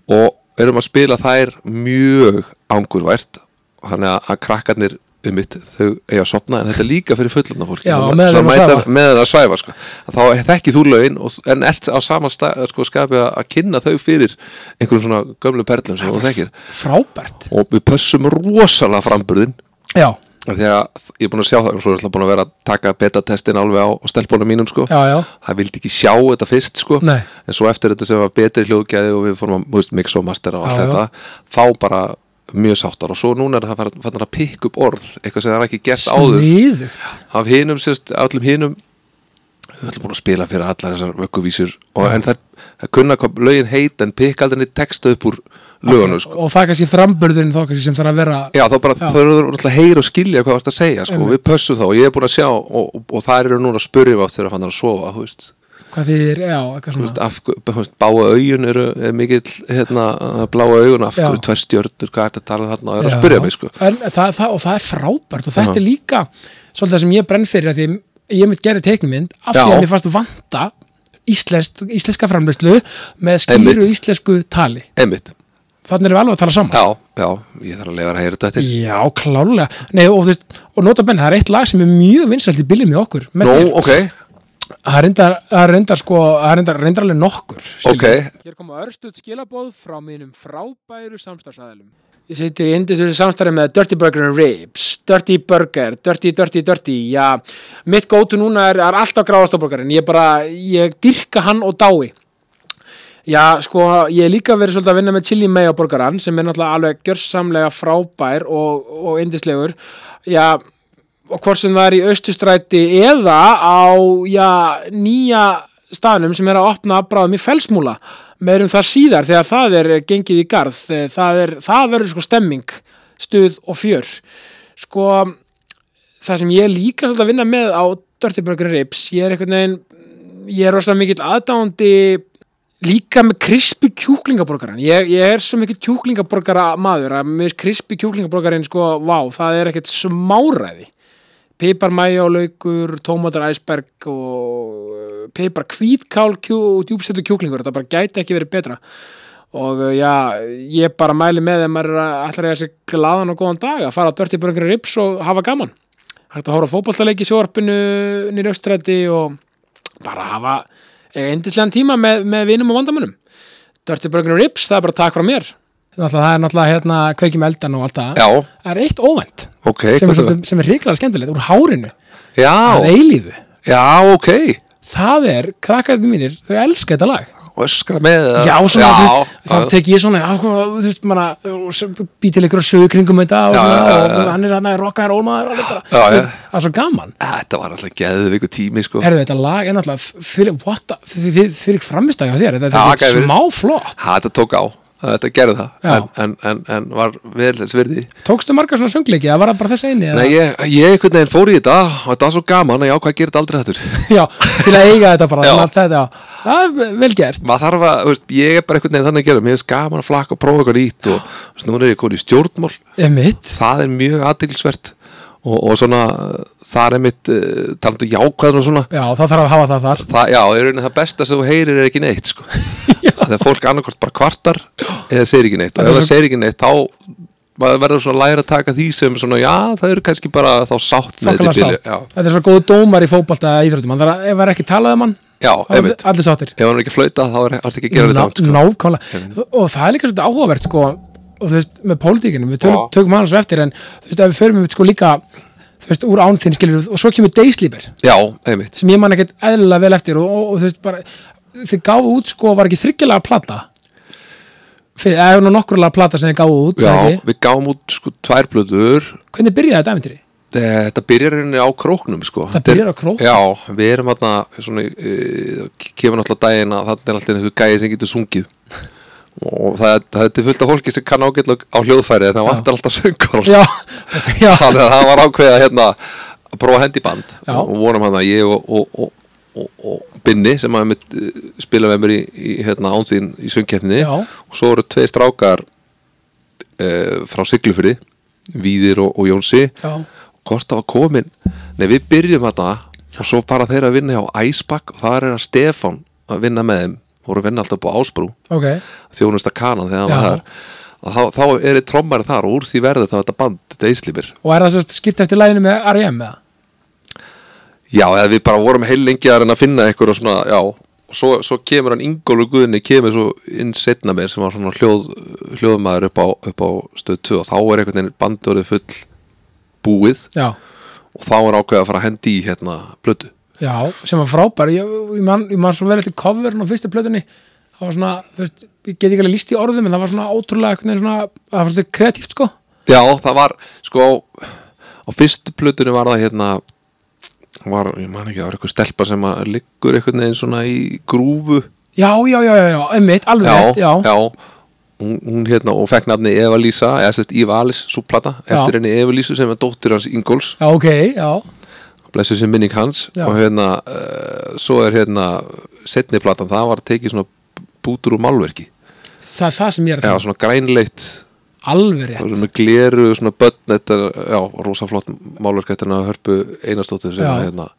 og erum að spila þær mjög angurvært þannig að, að krakkarnir um mitt þau eiga að sopna en þetta er líka fyrir fullandar fólk Já, meðan þeir eru að svæfa. með að svæfa sko. Að þá þekki þú lögin og, en ert á sama stað, sko, skapi að, að kynna þau fyrir einhverjum svona gömlum perlum sem þú þekkir frábært og við pössum rosalega framburðin já, af því að ég er búin að sjá það og svo er alltaf búin að vera að taka betatestin alveg á, á stelpunum mínum sko já, já, það vildi ekki sjá þetta fyrst sko Nei. en svo eftir þetta sem var betri hljóðgæði og við fórum að þú veist, mix og master og Já, allt já. þetta þá bara mjög sáttar og svo núna er það farin- farin að pikka upp orð eitthvað sem það er ekki gert áður sniðugt af hinum, sérst, allum hinum við ætlum búin að spila fyrir allar þessar vökkuvísur og, en það, það kunna hvað lögin heit en pikka aldrei neitt texta upp úr lögunum sko og það er kannski framburðurinn þá kannski sem þarf að vera Já, þá bara Já. þau eru alltaf að heyra og skilja hvað það varst að segja, sko, Einmitt. við pössum þá og ég er búin að sjá og, og, og það eru núna að spurja átt þegar að fann að sofa, þú veist hvað þýðir, já, eitthvað Þú veist, svona af, hver- þú veist, bláa augun eru er mikill, hérna, bláa augun af Já. hverju tvær stjörnur, hvað er þetta að tala um þarna og er að spyrja mig, sko en, það, það, og það er frábært og þetta Já. er líka svolítið það sem ég brenn fyrir af því ég mynd gerði teiknumynd af því Já. að mér fannst vanta íslensk, íslenska framleyslu með skýru Einmitt. íslensku tali einmitt, þannig erum við alveg að tala saman já, já, ég þarf að lefa að heyra þetta til já, klálega Nei, og, þú veist, og nota benni, það er eitt lag sem er mjög vinsælt í bílum í okkur með Nú, þér. ok, það er reyndar, það er reyndar sko, það er reyndar, reyndar alveg nokkur skilur ok, við. Hér koma örstuð skilabóð frá mínum frábæru samstarfsæðalum. Ég seti í indisölu samstarfi með Dirty Burger and Ribs, Dirty Burger, Dirty, Dirty, Dirty, já, mitt gótu núna er, er alltaf gráðastofburgarinn, ég bara, ég dyrka hann og dái. Já, sko, ég hef líka verið svolítið að vinna með chili mayo borgaran sem er náttúrulega alveg gjörsamlega frábær og, og indislegur. Já, og hvort sem það er í austustræti eða á, já, nýja staðnum sem er að opna bráðum í felsmúla. Meir um það síðar þegar það er gengið í garð. Eh, Það, er, það verður sko stemming, stuð og fjör. Sko, það sem ég er líka svolítið að vinna með á Dirty Burger Rips, ég er einhvern veginn, ég er rosa mikill aðdáandi líka með krispi kjúklingaborgaran ég, ég er svo mikið kjúklingaborgara maður að með krispi kjúklingaborgarin sko, vá, það er ekkert smáræði pipar mæjólaukur tómatar æsberg og uh, pipar kvítkál kjú, og djúbstættu kjúklingur, þetta bara gæti ekki verið betra og uh, já, ég bara mæli með þegar maður er að- ætlar að eiga sér glaðan og góðan dag að fara að dörti börngrið rips og hafa gaman hægt að hóra fótballtaleiki í sjóarpinu nýri austræti og bara hafa eindislegan tíma með, með vinum og vandamönnum Dirty Burger and Rips, það er bara takk frá mér Það er náttúrulega hérna kveikjum eldan og allt það já, Það er eitt óvænt ok, sem er, hvað það svolítið, sem er hrikalega skemmtilegt úr hárinu, að Já, eilífu já, ok, Það er, krakkarðið mínir, þau elska þetta lag og öskra með það. Já, svona, þú já, veist, þá tek ég svona, já, sko, þú veist, manna, og s- bý til ykkur að sögu kringum þetta og, Já, svona, já, já, og já. hann er hann að rocka þér ólmaður og alveg bara, Já, þú já. veist, það er svo gaman Þetta var alltaf geðviku tími, sko Herðu, þetta lag er náttúrulega, fyrir, what, the- þið- þið- þið fyrir framistæði á þér, þetta Já, er ekkert gæfi. smá flott Ha, Þetta tók á, þetta gerði það Já. en, en, en, en var vel þess virði Tókstu margar svona söngleiki, það var það bara þess eini eða? Nei, ég, ég einhvern veginn fór í þetta og þetta var svo gaman að ég ákvað að gera þetta aldrei hættur Já, til að eiga þetta bara Já. þannig að þetta, já. Það er vel gert maður þarf að, þú veist, ég er bara einhvern veginn þannig að gera mér finnst gaman að flakka og prófa eitthvað nýtt og þú veist, núna er ég komin í stjórnmál Emitt, það er mjög aðtilsvert og, og svona uh, þar er mitt uh, talandu jákvæður og svona Já, það þarf að hafa það þar það, já, í rauninni það besta sem þú heyrir er ekki neitt sko. þegar fólk annarkort bara kvartar eða segir ekki neitt og Það ef er það svo- segir ekki neitt þá maður verður svona að læra að taka því sem svona, já, það eru kannski bara þá sátt með þetta Þokkalega í byrju. sátt Þetta er svo góð dómar í fótbolta eða íþróttum Hann þarf að, ef hann er ekki talað um hann já, já, þá eru einmitt, Allir sáttir ef hann er ekki að flauta þá er allt ekki að gera Ná- þetta átt sko. Nákvæmlega Og það er líka svolítið áhugavert sko og þú veist, með pólitíkinu, við tölum, Já. tökum hann svo eftir en þú veist, ef við förum við sko líka þú veist, úr án þinn skilur og svo kemur Dayslíber já, einmitt, sem ég man ekkert eðlilega vel eftir og, og, og þú veist bara, þið gáðu út sko var ekki þryggjulega plata fyrir, eða nú nokkurlega plata sem þið gáðu út já, eða ekki? við gáum út sko tvær blöður hvernig byrjaði þetta æfintýri? Eh, Þetta byrjar í rauninni á króknum sko. Það Þetta er- byrjar á króknum? Já, við erum hérna svona, uh, kemur náttúrulega daginn að þarna er alltaf einhver gæði sem getur sungið og það, er- það er fullt af fólki sem kann ágætlega á hljóðfæri en það vantar alltaf söngur já, já, þannig að það var ákveðið að hérna, að prófa hendi band Já. og vorum hann að ég og, og, og, og, og Binni sem að mitt, uh, spila með mér í, í hérna, ánsýn í söngkeppni Já. og svo eru tvei strákar uh, frá Siglufyrði Víðir og, og Jónsi já, hvort það var komin Nei, við byrjum þarna og svo bara þeir að vinna hjá Æsbak og þar er að Stefán að vinna með þeim voru að vinna alltaf upp á Ásbrú ok þjónusta kanan þegar Já. hann var þar og þá, þá er þið trommari þar og úr því verður þá þetta band, þetta eislýmir og er það sérst skipt eftir læginu með R.E.M. eða? Já, eða við bara vorum heil lengi að reyna að finna einhverja svona, já og svo, svo kemur hann Ingólu Guðni kemur svo inn setna mér sem var svona hljóð, hljóðmaður upp á, upp á stöð 2 og þá er einhvern veginn bandorið full búið já, og þá er ákveðið að fara að hendi í hérna blötu já, sem var frábær ég, ég, man, ég man svo vel eftir coverin á fyrstu plötunni það var svona, þú veist, ég get ekki alveg líst í orðum en það var svona ótrúlega, einhvern veginn svona það var svona kreatíft sko Já, það var sko á fyrstu plötunni var það hérna var, ég man ekki, það var eitthvað stelpa sem að liggur einhvern veginn svona í grúfu já, já, já, já, já, einmitt, alveg rétt, já, já, Hún, hún hérna og fekk nafni Eva Lísa eða sérst Íva Alice súplata Já. eftir henni Eva Lísu sem er dóttir hans Ingóls ok, já, blessu sem minning hans Já. og hérna, uh, svo er hérna setni platan, það var tekið svona bútur úr málverki, það er það sem ég er að já tala um. svona grænleitt alveg rétt Það eru með gleru, svona börn, þetta, já, rosa flott málverk eftir hennar hörpu einastóttir sem Já. að hérna,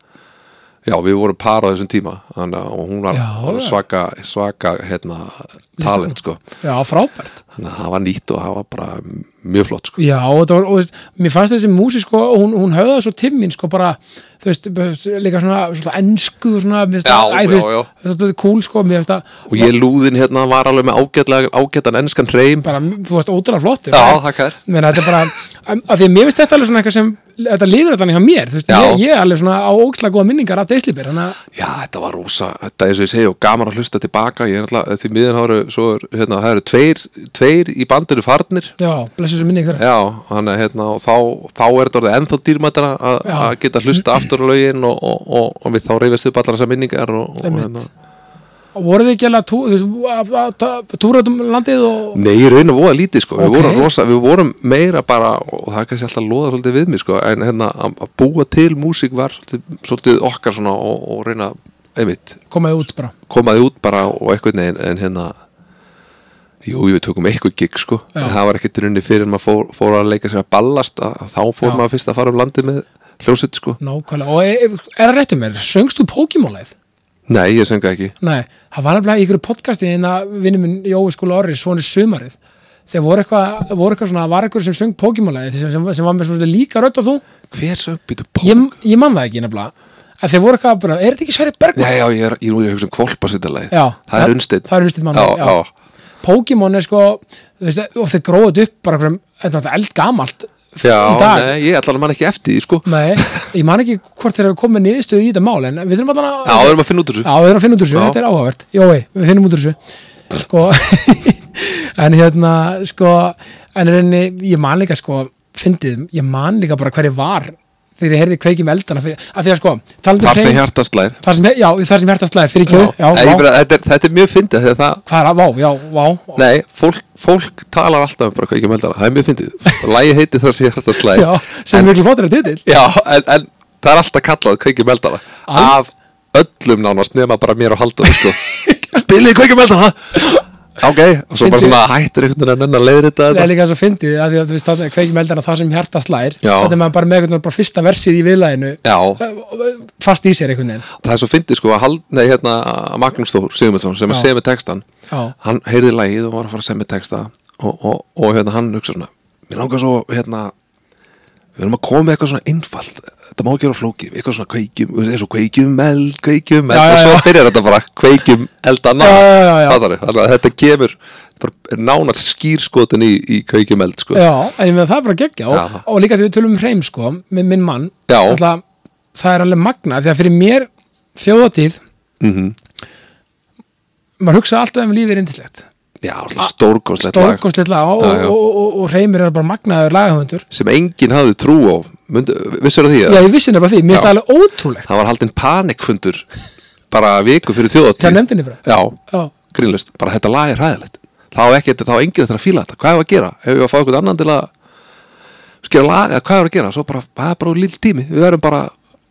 já, við vorum par á þessum tíma, þannig að og hún var Já, hún var já. svaka, svaka, hérna, talent, sko, Já, frábært. þannig að það var nýtt og það var bara mjög flott, sko. Já, og, það var, og veist, mér fannst þessi músi sko, hún, hún höfða svo timmin sko bara, þú veist, bara líka svona, svona ensku og svona, mér finnst Já, það- æ, þú já, veist, já. þetta er cool sko, mér finnst það Og ég lúðin hérna var alveg með ágætlega, ágætan ennskan hreim, bara, þú veist, ótrúlega flottur. já, það. þakkar, Meina, þetta er bara, að að því að mér finnst þetta alveg svona eitthvað sem, þetta líður allan hjá mér, þú veist, Já. ég, ég er alveg svona á ógslag góða minningar af Deislibir, þannig að, já, þetta var rosa, þetta er eins og ég segi og gaman að hlusta tilbaka, ég er alltaf, því miðan áru, svo er, hérna, það eru tveir, tveir í bandinu farnir, já, blessu þessu minning þeirra. Já, hann er hérna og þá, þá er þetta orðið ennþá dýrmættara að Já. að geta hlusta aftur á lögin og, og, og, og við þá reyfist upp allar þessar minningar og, hérna. og Einmitt. Og voruð þið ekki alveg að tú- þú veist, að- að- að- túra út um landið og, Nei, í raun og voða lítið sko, Ok. við, vorum rosa, við vorum meira bara og það er kannski alltaf loða svolítið við mig sko en hérna að að búa til músík var svolítið, svolítið okkar svona og, og reyna einmitt, komaði út bara, komaði út bara og eitthvað neginn en hérna Jú, við tökum eitthvað gig sko Já. en það var ekkert í rauninni fyrir en maður fór, fór að leika sér að ballast að, að þá fór Já. maður fyrst að fara um landið með hljóset sko nákvæmlega, og e- e- er það réttum mér, söngst þú Pokémon-leið? Nei, ég söngu ekki Nei, það var nefnilega í ykkur podcasti en að vinnu minn Jói skóla orri svona sumarið þegar voru eitthvað, voru eitthvað svona var eitthvað sem söng Pokémon-læði sem, sem, sem var með svona líka rödd á þú Hver söng býtu pók? ég, ég man það ekki nefnilega að þeir voru eitthvað bara, er þetta ekki Sverri Bergman? Nei, já, ég er, ég er nú að hugsa um kvolpasvitalæð Já, Það er unnsteinn það er unnsteinn mann, já, já. já. Pokémon er sko þú veist, og þeir gróðið upp bara einhverjum en það er eldgamalt já í dag nei, ég ætla að mann ekki eftir því, sko Nei, ég man ekki hvort þeir eru komið niðurstöðu í þetta mál en við þurfum allan að Já, við erum að finna út úr Já, þessu við erum að finna út úr þessu, Já. þetta er áhugavert Jói, við finnum út úr þessu Sko En hérna, sko En í rauninni, ég man líka, sko Fyndið, ég man líka bara hverju var Þegar ég heyrði kveikjum eldana fyrir, að Því að sko, talandi um Þar sem hrein- hjarta slær þar sem, Já, þar sem hjartast læðir, fyrir ekki Já, vá, Nei, ég bara, þetta, er, þetta er mjög fyndið þegar það hvað er að, vá, já, vá Nei, fólk, fólk talar alltaf um bara hvað ekki um eldana, það er mjög fyndið Lægi heiti þar sem hjarta slær Já, sem er miklu fóttir að titill Já, en, en það er alltaf kallað kveikjum eldana Al- Af öllum nánast nema bara mér og haldur sko. Spilið kveikjum eldana ok, og svo bara Fyndi- svona hættir einhvern veginn að nenni að leiðir Það þetta er líka svo fyndið að því að þú veist þarna er kveikjum eldana það sem hjarta slær Já. þetta er maður bara með einhvern veginn bara fyrsta versið í viðlæðinu Já, fast í sér einhvern veginn það er svo fyndið sko að hald, nei, hérna, Magnús Þór Sigmundsson sem Já. að segja með textan Já, hann heyrði lagið og var að fara að semja texta og, og, og hérna, hann hugsa svona mér langar svo hérna við erum að koma með eitthvað svona einfalt þetta má ekki vera flókið, eitthvað svona kveikjum eins og kveikjum eld, kveikjum eld Já, já, og svo já. byrjar þetta bara kveikjum eldana Já, já, já, já. Fattarðu? Þannig að þetta kemur bara, er nánast skýrskotin í, í kveikjum eld sko. já en ég meina það er bara geggja og, Já. og líka því við tölum um hreim sko minn, minn mann, Já. Ætla, það er alveg magna því að fyrir mér þjóðatíð mm -hmm. maður hugsa alltaf um lífið er indislegt já stórkoslegt lag stórkostlegt lag og, Já, já. og, og, og, og hreimir er bara magnaður lagahöfundur sem enginn hafði trú á Myndu, vissur því að Já, ég vissi nefnilega því, mér finnst Já. það alveg ótrúlegt það var haldinn panikfundur bara viku fyrir Það þjóðatíð nefndi henni bara já, Já, grínlust, bara þetta lag er hræðilegt þá er ekki, þá er enginn þetta að fíla þetta hvað er að gera, hefur við að fá einhvern annan til að skera lag, eða hvað er að gera svo bara, það er bara lill tími, við verðum bara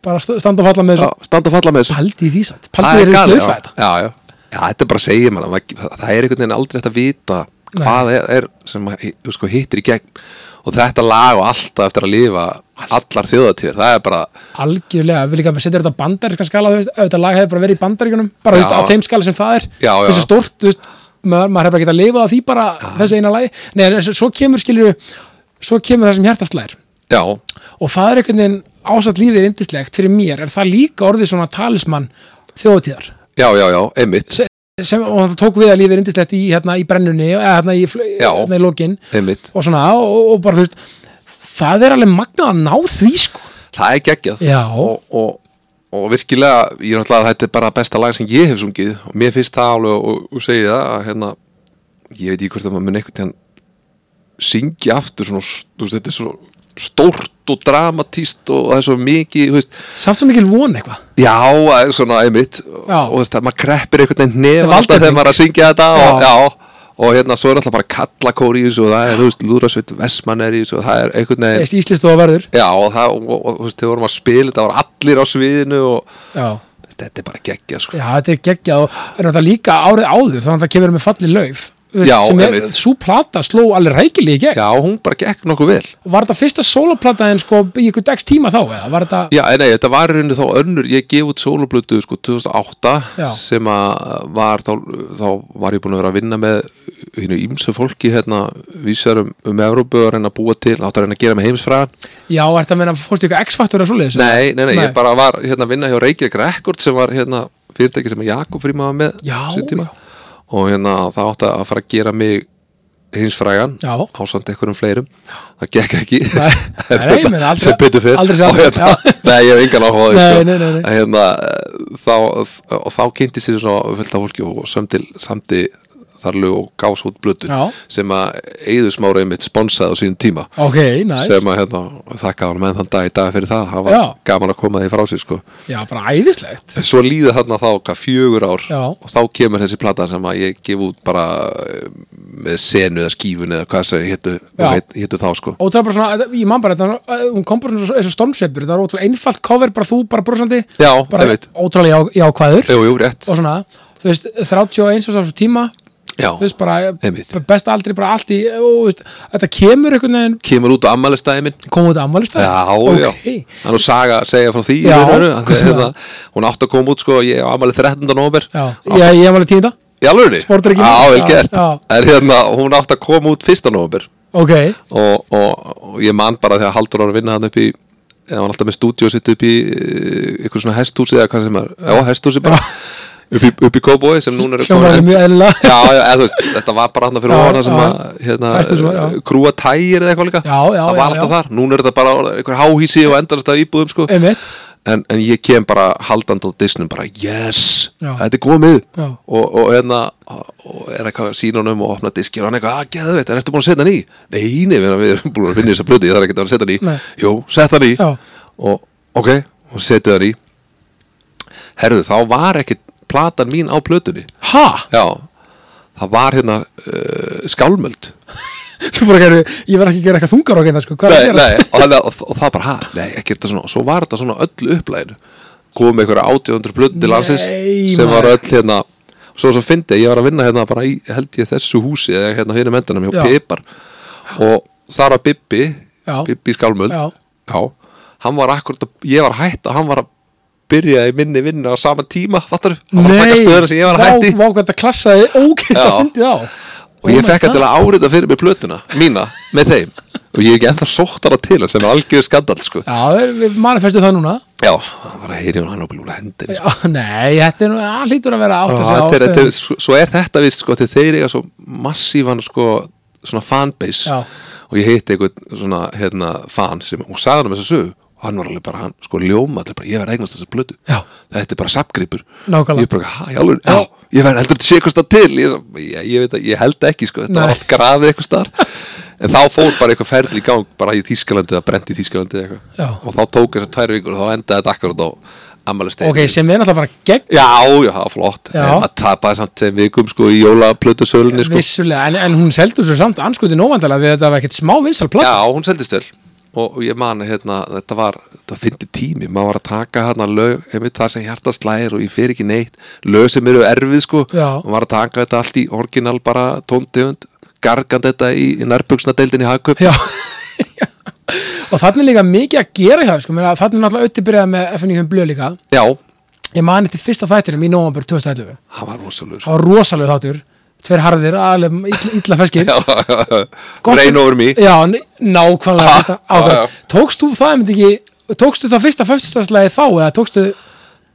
bara st- standa og falla með já, þessu standa og falla með þessu Paldi í því satt, Það paldi er þeir eru galið, slöfa þetta já, já, já, já, þetta er bara að segja mann það er einhvern veginn aldrei eftir að vita Nei. hvað er, er sem að, hi- sko, hittir í gegn og þetta lag og alltaf eftir að lifa allar þjóðatíður, það er bara Algjörlega, við líka setjum þetta á bandarískan skala þú veist, ef þetta lag hefði bara verið í bandaríkunum bara þú veist, Já. á þeim skala sem það er Já, já. þessi stórt, þú veist, maður, maður hefði bara getað að lifa á því bara þessu eina lagi Nei, en svo- svo kemur skilur svo kemur það sem hjartastlæðir já, og það er einhvern veginn ásatt lífið er indislegt fyrir mér, er það líka orðið svona talismann þjóðtíðar já, já, já, einmitt sem, og það tók við að lífið er indislegt í, hérna, í brennunni eða hérna í, fl- Já. hérna í lokin einmitt, og svona, og, og bara þú veist það er alveg magnað að ná því sko það er geggjað Já, og, og, og virkilega ég er náttúrulega að þetta er bara besta lag sem ég hef sungið og mér finnst það alveg og, og, og segi það að hérna ég veit ekki hvort að maður mun einhvern tíðan syngja aftur svona, s- þú veist, þetta er svo stórt og dramatíst og það er svo mikið, þú veist, samt svo mikil von eitthvað já, það er svona einmitt og, Já. og þú veist, að maður kreppir einhvern veginn nefn Þetta er alltaf þegar valdefling. maður er að syngja þetta Já. og, já, og hérna svo er alltaf bara kallakóri í þessu og það er, þú veist, lúðrasveit Vestmann er í þessu og það er einhvern veginn Eist, Íslistofa verður Já, og það, og, og, og þú veist, þegar vorum að spila þetta var allir á sviðinu og Já, þetta er bara geggja, sko. já þetta er geggja og er náttúrulega líka árið áður þannig að það kemur með falli lauf Já, einmitt. Sú plata sló alveg rækilega í gegn Já, hún bara gekk nokkuð vel. Var þetta fyrsta sólaplata en sko í ykkur dags tíma þá eða? Var þetta, Já, en nei, þetta var í rauninu þá önnur, ég gef út sólublutu, sko, 2008 Já. sem að var, þá, þá var ég búin að vera að vinna með hínu ímsu fólki, hérna, vísar um, um Evrópu og reyna að búa til, átt að reyna að gera með heimsfræðan. já, er þetta að meina fórstu ykkur X-faktur að svoleiðis? Nei, nei, nei, Nei. ég bara var hérna að vinna hjá Reykjavík Record sem var hérna fyrirtæki sem Jakob Fríma var með Já, á sínum tíma. og hérna það átti að fara að gera mig hins frægan Já. ásamt einhverjum fleirum það gekk ekki Nei, nei, ég meina, aldrei- sem betur fyrir aldrei sé Og aldrei, hérna, nei, ég hef engan áhuga á því, Nei, sko. nei, nei, nei. En Hérna, þá, og þá kynnti sér svona fullt af fólki og samtil, samti þar lög og gás út blötu Já. sem að Eiður Smára einmitt sponsaði á sínum tíma Ok, næs sem að hérna, þakka hann með þann dag í dag fyrir það, það var Já. gaman að koma því frá sér sko. Já, bara æðislegt En svo líða þarna þá hvað fjögur ár Já. og þá kemur þessi plata sem að ég gef út bara eh, með senu eða skífun eða hvað sem héttu, Já. heit, héttu þá sko. Og það er bara svona, þetta- ég man bara, þetta var- hún kom bara eins og stormsveipur, það var ótrúlega einfalt cover, bara þú, bara brosandi, Já, bara einmitt. ótrúlega já- jákvæður Jú, jú, rétt. og svona, þú veist, 31 og svo tíma, Já, þú veist, bara Einmitt. besta aldrei, bara allt í, og, þú veist, þetta kemur einhvern veginn, kemur út á ammælistæði minn. komum við þetta ammálistæð? Já, okay. já. Það er nú saga að segja frá því. í Já, raun og veru, að hvað sem hérna, Hún átti að koma út sko, ég á ammæli 13. november. já. Ég, ég var alveg týnda, Í alveg? Sportdrykkinn. Já, vel Já, gert. já. En hérna, hún átti að koma út 1. november. ok, og, og, og ég man bara þegar Haldur var að vinna hann upp í eða hann var alltaf með stúdíu sitt upp í eh, ykkur svona hesthúsi eða hvað sem er já, hesthúsi bara upp í, upp í Kóboi sem núna er hljómaði mjög eðlilega. já, já, eða, þú veist, þetta var bara hann fyrir Já, ofan það sem já. að hérna, Hesthúsið var, já. krúa tægir eða eitthvað líka Já, já, það var já, já. alltaf þar, núna er þetta bara orðið einhver háhísi og endalist af íbúðum sko. Einmitt, en, en ég kem bara haldandi á disnum bara yes, Já. þetta er komið Já. og, og hérna og er eitthvað sínunum og opna diski og hann eitthvað, að geðu veit, en ertu búin að setja hann í nei, nei, við við erum búin að finna þessa blötu ég þarf ekki að setja hann í, Nei. jú, setja hann í Já. og ok, og setja hann í herðu, þá var ekki platan mín á blötunni ha, já, það var hérna uh, skálmöld þú bara gerði, ég var ekki að gera eitthvað þungar á hérna, sko, hvað er nei, að gera? nei, og, þannig að- og, og það bara, hæ, nei, ekki þetta svona og svo var þetta svona öll upplæðinu komið með einhverja 800 blöð til landsins Nei, sem var maður. öll hérna og svo svo fyndi ég var að vinna hérna bara í held ég þessu húsi eða hérna hérna mendanum hjá Já. Pipar og þar var Bibbi Já. Bibbi Skálmöld Já. hann var akkurat, að, ég var hætt og hann var að byrja í minni vinnu á sama tíma fattar, hann var að taka stöðuna sem ég var vá, hætt í vá hvað þetta klassaði ógeist að Já. fyndið á og ég Oh my fekk að God. til að árita fyrir mig plötuna mína með þeim og ég er ekki ennþá sótt hana til hans sem er algjör skandal sko. Já, við- við manifestum það núna já, hann var að heyri hann á blúla hendin Já, nei, þetta er nú, hann hlýtur að vera átt að segja þetta er, þetta er, ástöðum svo svo er þetta vist sko, þegar þeir eiga svo massífan sko, svona fanbase Já. og ég hitti einhvern svona hérna, fan sem, og sagði hann um þessa sögu og hann var alveg bara, hann sko ljóma allir bara, ég verð að eignast þessa plötu Já. þetta er bara sapgripur Nákvæmlega. ég bara, hæ, alveg, já, ég verð heldur þetta sé eitthvað til ég, ég, ég veit að, ég held ekki sko, þetta Nei. var allt grafið eitthvað star en þá fór bara eitthvað ferli í gang bara í Þýskalandi eða brendi í Þýskalandi eða Já. eitthvað og þá tók þessar tvær vikur og þá endaði þetta akkurat á ammælisteginu Ok, sem er náttúrulega bara gegn Já, já, það var flott Já. En maður tapaði samt þeim vikum sko í jólaplötu sölunni sko vissulega, en, en hún seldu svo samt anskutin óvandalega því að þetta var ekkert smá vinsal platt Já, hún seldist vel Og og ég man, hérna, þetta var, þetta fyndi tími Maður var að taka hérna lög, einmitt það sem hjartast lægir og ég fer ekki neitt Lög sem eru erfið sko Já. Og maður var að taka þetta allt í orginal bara tóntegund Gargand þetta í, í nærbuksnadeildin í hagkaup Já Og þannig líka mikið að gera hjá, þér, sko, þannig er náttúrulega auðvitað byrjaði með FNÍHum blöð líka. Já, Ég mani til fyrsta þættinum í november 2011. það var rosalur Það var rosalega þáttur, tveir harðir, aðlega illa, illa feskir. Gott- Reyn over me Já, n- nákvæmlega fyrsta já, já. ákvæm. Tókst þú það, einmitt ekki, tókstu það fyrsta föstudagslega þá eða tókstu,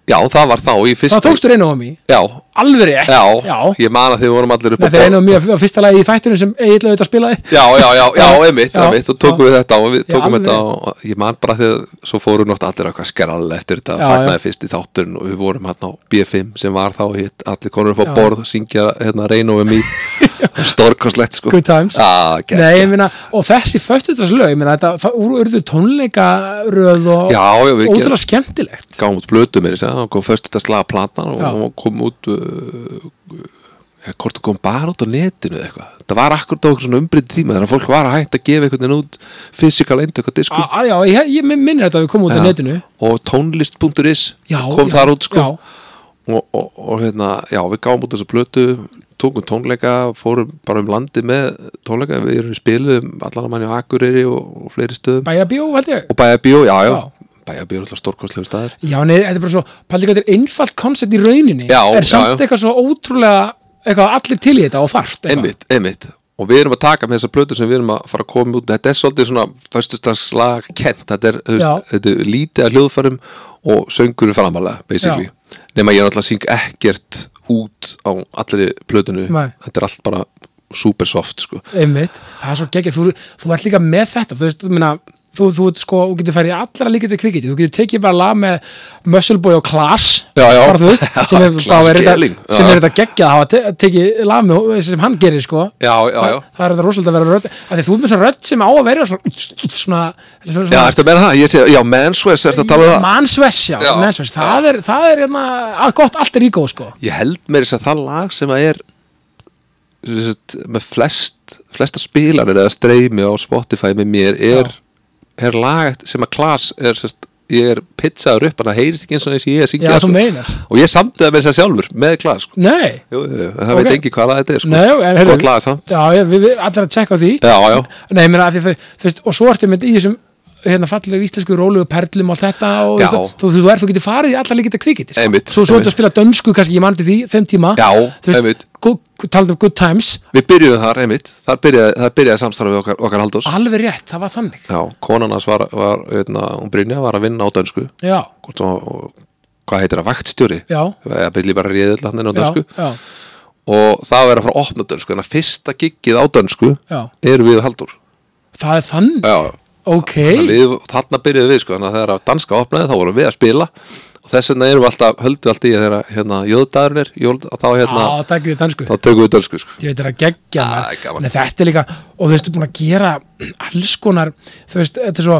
Já, það var þá í þá fyrsta tókstu reyna á mig. Já, Alveg rétt. já, Já. ég man að þið vorum allir upp Nei, á þeir borð. reyna á mig á fyrsta lagi í þættinu sem eiginlega auðvitað spilaði. já, já, já, já, einmitt, Já, einmitt og tókum já. við þetta og við Já, tókum alveg. þetta og ég man bara þegar svo fóru nátt allir eitthvað skrall eftir þetta, Já, fagnaði fyrst í þátturinn og við vorum hérna á B5 sem var þá hitt, allir konur upp á Já. borð og syngja hérna reynu um í stórkostlegt sko Good times. já, gegn. Nei, ég meina, og þessi föstudagslög, ég meina, þetta, það úr- urðu tónleikaröð og já, já, við gerum- ótrúlega skemmtilegt. gáum út blötu mér þess að og kom först þetta slaga platan og Já. hún kom út uh, ja, hvort það kom bara út á netinu eða eitthvað það var akkurat á okkur svona umbrið tíma þannig að fólk var að hægt að gefa einhvern veginn út physical eindökk á disku Á, á, já, ég, ég minnir þetta að við komum út á Já. netinu. og tónlist.is Já, kom já, þar út sko já. og, og, og hérna, já, við gáum út þessa plötu tókum tónleika, fórum bara um landi með tónleika, við erum spiluðum allan að manni á Akureyri og, og fleiri stöðum Bæja bjó, held ég. og bæjabíó, já, já, Já. bæjabíó er alltaf stórkostlegu staðir Já, nei, þetta er bara svo, paldi hvað þetta er einfalt koncept í rauninni. Já, Er já, samt já. eitthvað svo ótrúlega, eitthvað allir til í þetta og þarft. eitthvað. einmitt, einmitt og við erum að taka með þessa plötu sem við erum að fara að koma út þetta er svolítið svona föstudagslag kent, þetta er, þú veist, þetta er lítið að hljóðfærum og söngurum framalega basically, nema ég er alltaf að syng ekkert út á allri plötunu, Nei. þetta er allt bara super soft sko Einmitt. Það er svo geggjað, þú, þú ert líka með þetta, þú veist, þú meina, þú, þú, ert sko, þú getur færið í allra líkandi kvikiti, þú getur tekið bara lag með Muscle Boy og Class, Já, já. bara þú veist, sem er, Class þá er Gelling, þetta, sem já. er þetta geggjað að hafa te tekið lag með hó- sem hann gerir, sko. Já, já, já. Það, það er þetta rosalega að vera rödd, af því þú ert með svona rödd sem á að vera svona, svona, svona, svona Já, ertu að meina það? Ég sé, já, menswears, ertu að tala um það? mannsvess, já, Já, mannsvess, já. það er, það er, hérna, að gott allt er í góð, sko. Ég held með þess að það lag sem að er sem sagt, með flest flesta spilanir eða streymi á Spotify með mér er, er lag sem að Klaas er sérst, ég er pizzaður upp, hann að heyrist ekki eins og eins ég er Já, að syngja þú sko. meinar. og ég samtiða með þess að sjálfur með Klaas sko. Nei, jú, jú, það Ok. veit engi hvað lag þetta er sko. nei, en heyrðu- gott lag samt Já, ég- við, við allir að tjekka á því. Já, já, Nei, ég meina að því þau, þú veist, og svo ertu með í þessum hérna fallegu íslensku rólegu perlum og allt þetta og Já. þú, þú, þú, er, þú getur farið í allar líkita kvikiti sko. Einmitt, svo, svo ertu einmitt. að spila dönsku, kannski ég mann til því, fimm tíma já, þú einmitt veist, talað um good times Við byrjuðum þar, einmitt, þar byrjaði, þar byrjaði samstarfið okkar, okkar Halldórs alveg rétt, það var þannig Já, konan hans var, var, hérna, hún Brynja var að vinna á dönsku já, hvort sem að- og- hvað heitir það, vaktstjóri já, eða byrli bara réðill hann inn á já, dönsku já, og það verður að fara að opna dönsku þannig að fyrsta giggið á dönsku já eru við Haldur það er þannig, já, ok við, þarna byrjuðum við sko, þannig að þegar að danska opnaði þá vorum við að spila og þess vegna erum við alltaf, höldum við alltaf í að þegar að, hérna, jöðdagurinn er jól, að þá á, hérna, takk við dönsku þá tökum við dönsku sko. ég veit það er að gegja Já, maður. það er gaman. Nei, þetta er líka, og þú veist, þú er búin að gera alls konar, þú veist, þetta er svo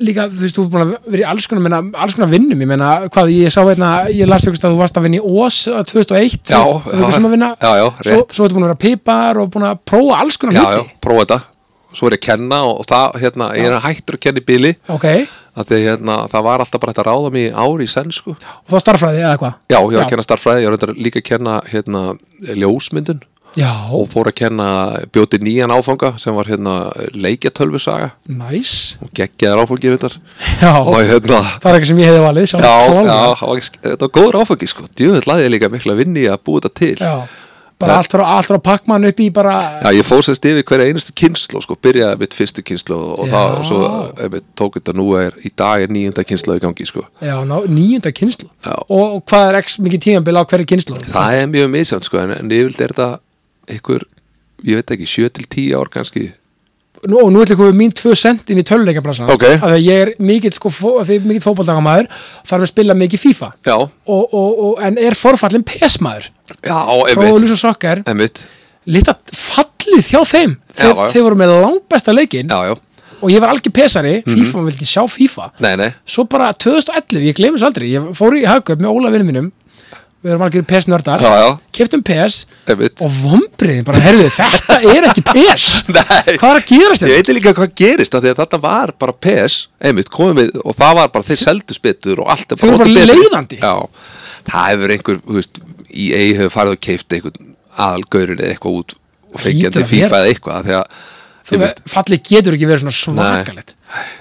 líka, þú veist, þú er búin að vera í alls konar, menna, alls konar vinnum, ég menna hvað, ég sá veitna, ég las ykkur að þú varst að vinna í OS eh, 2001, Já, þú þú já, veist sem að vinna, já, já, svo, rétt. svo ertu búin að vera pipar og búin að prófa alls konar já, já, hluti, prófa þetta svo er ég að kenna og, og það, hérna, ég er hættur að kenna í bíli ok, Þannig að því að hérna, það var alltaf bara hægt að ráða mig í ár í senn sko. og þá starffræði eða hvað já, ég var Já. að kenna starffræði, ég var reyndar líka að kenna hérna, ljósmyndun já, og fór að kenna bjóti nýjan áfanga sem var hérna, leikjatölvusaga næs og geggjaðar áfangir reyndar já, og hérna það er ekki sem ég hefði valið Já, sjálf já, klárlega. það var ekki- þetta var góður áfangi sko Djöfull laði ég líka mikla vinni í að búa þetta til já. bara Það- allt frá, allt frá pakkmann upp í bara Já, ég fór semst yfir hverja einustu kynslu sko, byrjaði mitt fyrstu kynslu og, og Já. það og svo einmitt, tók þetta nú er í dag er nýjunda kynslu í gangi sko. já, ná, nýjunda kynslu Já. og, og hvað er ekki mikið tímabil á hverju kynslu Það er mjög misjant sko, en, en yfirleitt er þetta einhver, ég veit ekki, 7 til 10 ár kannski. nú, og nú ætlum við mín tvö sent inn í töluleikabransan Ok. að því að ég er mikill sko, fó, að því ég er mikill fótboldagamæður þarf að spila mikið FIFA Já, og, og, og, en er forfallin PS-maður já, og einmitt, Lúsa Sokkar, einmitt, lita fallið þjá þeim þeir, Já, já. þeir voru með langbesta leikin já, Mhm. já, og ég var algjör pesari, FIFA, maður vildi sjá FIFA nei, nei, svo bara 2011, ég glemis aldrei ég fór í hagkaup með Óla vinnum mínum við erum algjör PS-nördar já, já, keftum PS einmitt. og vombriðin bara, herðu, þetta er ekki PS Nei, hvað er að gerast ég þetta? veit líka hvað gerist af því að þetta var bara PS einmitt, komum við, og það var bara þeir seldu spytur og allt er Þau eru bara orðið betra. leiðandi. já, það hefur einhver, þú veist, í eigi hefur farið og keift einhvern aðalgaurin eða eitthvað út og Hlýtur fengjandi að FIFA vera. eða eitthvað af því að, ég, veit, fallið getur ekki verið svona svakalegt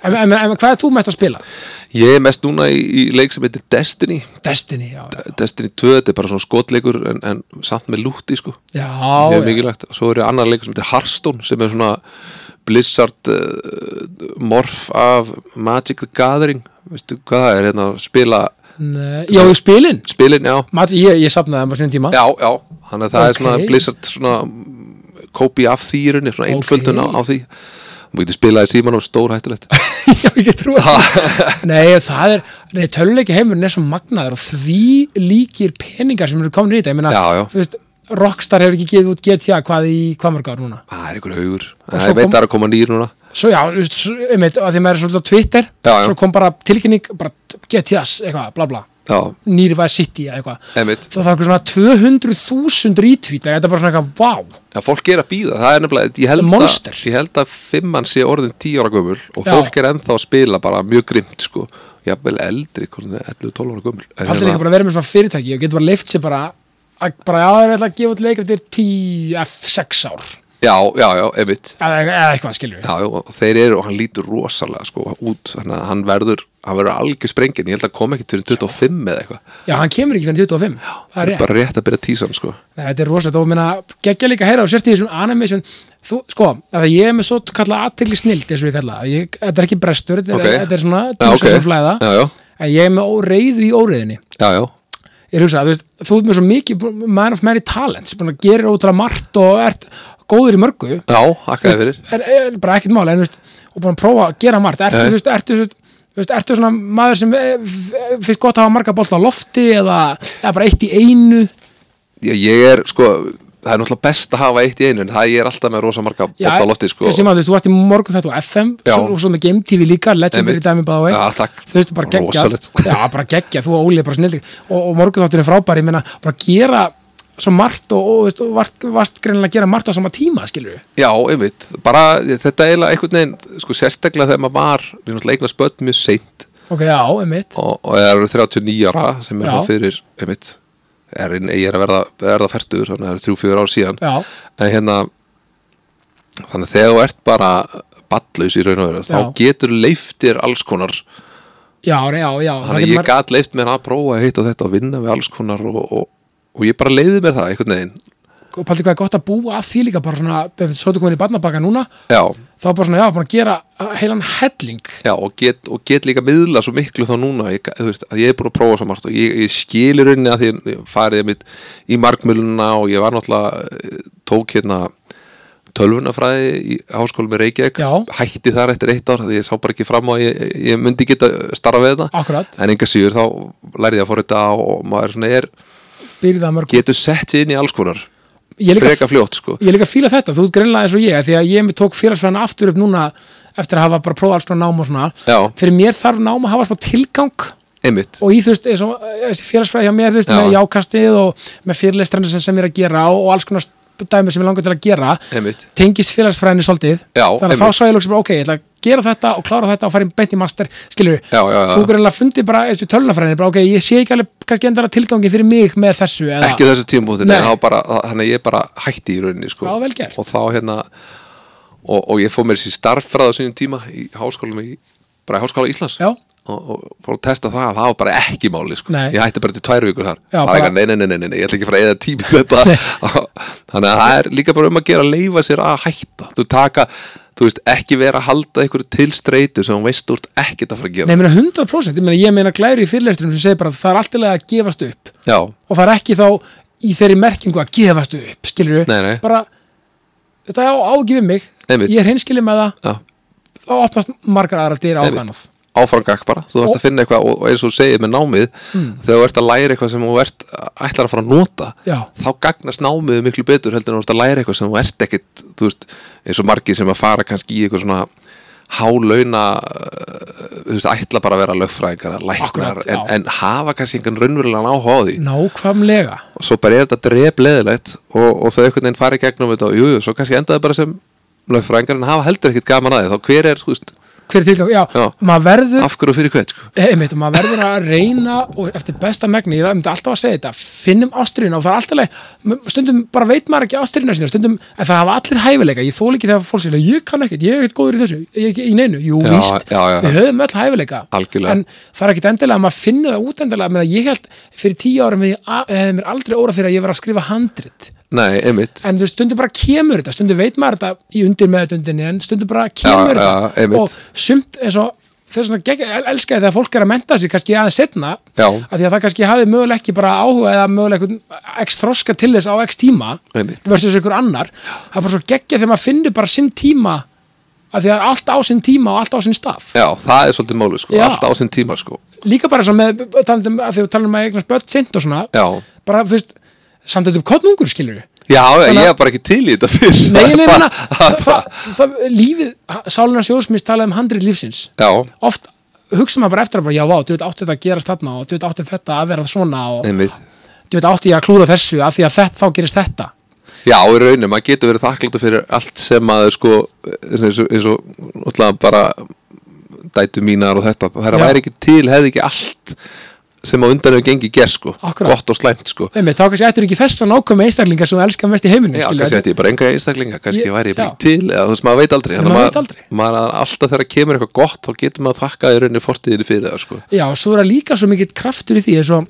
en, en, en hvað er þú mest að spila? ég er mest núna í, í leik sem heitir Destiny Destiny, já Destiny 2, þetta er bara svona skotleikur en, en samt með lúti, sko já, mjög já. mikilvægt, og svo eru annar leikur sem heitir Hearthstone sem er svona Blizzard uh, morf af Magic the Gathering veistu hvað það er, hérna að spila Nei, já, og spilin spilin, já, Mati, ég, ég sapnaði það bara svona tíma já, já þannig að það Ok. er svona Blizzard svona mm, kópi af því í rauninni, svona Ok. einföldun á, á því maður getur spilað í símanum stórhættulegt Já, ég get trúið því. Nei, það er, nei, töluleiki heimurinn er svo magnaður og því líkir peningar sem eru komin í þetta, ég meina Já, já. þú Veist, Rockstar hefur ekki gefið út GTA hvað í hvað mörg ár núna það er einhver haugur, svo það er veit kom- það er að koma nýr núna Svo já, þú veist, svo- einmitt, að því maður er svolítið á Twitter Já, já. svo kom bara tilkynning, bara GTAs eitthvað, bla bla, já, Nýrvæð City eða eitthvað, emitt, það þarf eitthvað svona 200.000 retweet, það er bara svona eitthvað, vá já, fólk er að býða það er nefnilega, ég held, Monster. að, ég held að fimmann sé orðin tíu ára gömul og Já. fólk er ennþá að spila bara mjög grimt sko, jafnvel eldri 11-12 ára gömul Paldir En hérna- líka bara að vera með svona fyrirtæki og getur bara leift sér bara að bara já, ég ætla að gefa út leik eftir 10 F6 ár já, já, já, emitt eða, eða eitthvað skilur við Já, já, og þeir eru og hann lítur rosalega sko út, þannig að hann verður hann verður algjör sprengin, ég held að koma ekki til 25 eða eitthvað, Já, hann kemur ekki fyrir 25 Það er rétt bara rétt að byrja tísan sko Nei, Þetta er rosalegt og minna, geggja líka að heyra og sért í þessum animation þú, sko, að ég er með svo kalla aðtegli snild eins og ég kalla það, Ég- þetta er ekki brestur þetta er, Ok. þetta er svona Já, dúsa ok. sem flæða Já, já, en ég er með ó- reiðu í óreiðinni já, já, ég hugsa, þú veist, þú ert með svo mikið man of many talents, búin að gera út margt og ert góður í mörgu já, hakkaði fyrir er, er eh, bara ekkert mál en, þú veist, og búin að prófa að gera margt ertu, Nei. þú veist, ertu, þú veist, þú veist, ertu svona maður sem eh, f- finnst gott að hafa marga bolta á lofti eða, eða bara eitt í einu Já, ég er sko, það er náttúrulega best að hafa eitt í einu en það ég er alltaf með rosa marga bósta á lofti sko ég sé maður, þú veist, þú varst í morgun þetta og FM Já. svo, og svo með Game TV líka, Legendary Einmitt. dæmi bæða vei Já, takk. þú veist, bara geggja Rosalegt. já, bara geggja, þú og Óli er bara snildi og, og morgun þáttur er frábær, ég meina, bara gera svo margt og, og, veist, og varst, varst greinilega að gera margt á sama tíma, skilur við Já, einmitt, bara þetta er eiginlega einhvern veginn, sko sérstaklega þegar maður var, ég náttúrulega eignar spöld mjög seint ok, já, einmitt, og, og er 39 ára sem er Já. það fyrir, einmitt er, ég er að verða, verða færtur, þannig að það er 3-4 ár síðan já, en hérna þannig að þegar þú ert bara ballaus í raun og veru, Já. þá getur leiftir alls konar, já, já, já það þannig að getur ég maður- gat leift mér að prófa að heita þetta og vinna við alls konar og, og, og ég bara leiði mér það einhvern veginn, og paldið hvað er gott að búa að því líka bara svona, ef svo þú komin í barnabaka núna já, þá bara svona, já, bara gera uh, heilan helling já og get, og get líka miðla svo miklu þá núna, ég, ga- þú veist, að ég er búin að prófa svo margt og ég, ég skili rauninni að því að ég farið mitt í markmöluna og ég var náttúrulega, eh, tók hérna tölvunafræði í háskólum í Reykjavík, Já. hætti þar eftir eitt ár því ég sá bara ekki fram á að ég, ég myndi geta starfað þetta akkurat, en enga síður þá lærði ég að forrita og maður svona er, byrðið að mörg getur sett sér inn í alls konar ég er líka freka fljótt sko ég líka fíla þetta, þú ert greinlega eins og ég því að ég mér tók félagsfræðina aftur upp núna eftir að hafa bara prófað alls konar nám og svona já, fyrir mér þarf nám að hafa smá tilgang einmitt, og í þú veist, eins og eh, þessi félagsfræði hjá mér þú veist, Já. með jákastið og með fyrirleistrarnir sem, sem ég er að gera og, og alls konar st- dæmi sem ég langar til að gera einmitt tengist félagsfræðinni svolítið já, þannig að einmitt, þá sá ég lóks bara, ok, ég ætla að gera þetta og klára þetta og fara í beint í master skilur, Já, já, já. þú greinlega fundi bara eins og tölunafræðinni, bara ok, ég sé ekki alveg kannski endara tilgangi fyrir mig með þessu eða, ekki þessu tímabútinu Nei. þannig að ég bara hætti í rauninni sko. Já, vel gert. og þá hérna og, og ég fór mér þessi starffræð á sínum tíma í háskólum í, bara í háskóla Íslands Já. og, og fór að testa það, það var bara ekki máli sko. Nei. ég hætti bara til tvær vikur þar Já, bara bara- eitthvað, nei, nei, nei, nei, nei, ég ætla ekki að fara eða tími í þetta þannig að það er líka bara um að gera að leifa sér að hætta þú taka, þú veist, ekki vera að halda einhverju til streitu sem hún veist úr ekkert að fara Nei, að gera ég meina 100%, ég meina, ég meina glæri í fyrirlestunum sem segir bara að það er alltilega að gefast upp Já, og það er ekki þá í þeirri merkingu að gefast upp, skilur Nei, nei. bara, þetta á ágifin mig Einmitt. ég er hinskilið með það, já þá opnast margar aðra dyr Einmitt. ákvæmað áframgak bara, þú Og- Hmm. þarfst að finna eitthvað og, og eins og þú segir með námið þegar þú ert að læra eitthvað sem þú ert ætlar að fara að nota Já, þá gagnast námið miklu betur heldur en þú ert að læra eitthvað sem þú ert ekkit þú veist, eins og margir sem að fara kannski í eitthvað svona hálauna uh, þú veist, ætla bara að vera lögfræðingar eða læknar Akkurat, já. en, en hafa kannski engan raunverulegan áhuga á því nákvæmlega og svo bara er þetta drep leðilegt og, og þau einhvern veginn fara í gegnum þetta og jú, jú, svo kannski endaði bara sem lögfræðingar en hafa heldur ekkit gaman að því þá hver er, þú veist, hver er tilgang, já, Já. maður verður af hverju og fyrir hvert sko? einmitt, og maður verður að reyna og eftir besta megni, ég er myndi alltaf að segja þetta finnum ástriðina og það er alltaf leið stundum bara veit maður ekki ástriðina sína stundum, en það hafa allir hæfileika, ég þól ekki þegar fólk segja, ég kann ekkert, ég er ekkert góður í þessu ég er ekki í neinu, jú, Já, víst já, já. við höfum öll hæfileika, Algjörlega. en það er ekkert endilega að maður finnur það út endilega, Meina, ég held fyrir tíu árum hefði- hefði mér aldrei óra fyrir að ég var að skrifa handrit Nei, einmitt en þú veist, stundum bara kemur þetta stundum veit maður þetta í undir meðutundinni en stundum bara kemur Já, já, þetta einmitt. og sumt eins og þess vegna gegn- el- elska ég þegar fólk er að menta sig kannski aðeins setna Já. af því að það kannski hafi möguleg ekki bara áhuga eða möguleg einhvern x þroska til þess á x tíma Einmitt. versus einhver annar það er bara svo geggja þegar maður finnur bara sinn tíma af því að allt á sinn tíma og allt á sinn stað Já, það er svolítið máli sko, Já. allt á sinn tíma sko líka bara svo með talandum, að því að tala um að eignast börn sint og svona Já, bara, þú veist, samt þetta um kottnungur skilur já Þannig að- ég er bara ekki til í þetta fyrr Nei, nei, menna, Það er bara- það, það, lífið, sálunar sjóðsmins talaði um handrið lífsins. Já, Oft hugsa maður bara eftir að bara, já, vá, þú veit átti þetta að gerast þarna og þú veit átti þetta að vera svona og einmitt þú veit átti ég að klúra þessu af því að þetta, þá gerist þetta. Já, í rauninu, maður getur verið þakkláttur fyrir allt sem maður sko eins og, eins og náttúrulega bara dætu mínar og þetta það Já. væri ekki til, hefði ekki allt sem á undan hefur gengið gerð sko Akkurat. gott og slæmt sko Nei, þá kannski ættur ekki þessa nákvæm einstaklingar sem þú elskar mest í heiminu, Já, skilur kannski þetta. ætti ég bara enga einstaklinga, kannski Ég- væri já. ég bara ekki til eða þú veist, maður veit aldrei, Nei, þannig maður að veit aldrei. maður alltaf þegar kemur eitthvað gott þá getur maður þakkað í rauninu fortíðinni fyrir það sko Já, svo er það líka svo mikill kraftur í því, eins og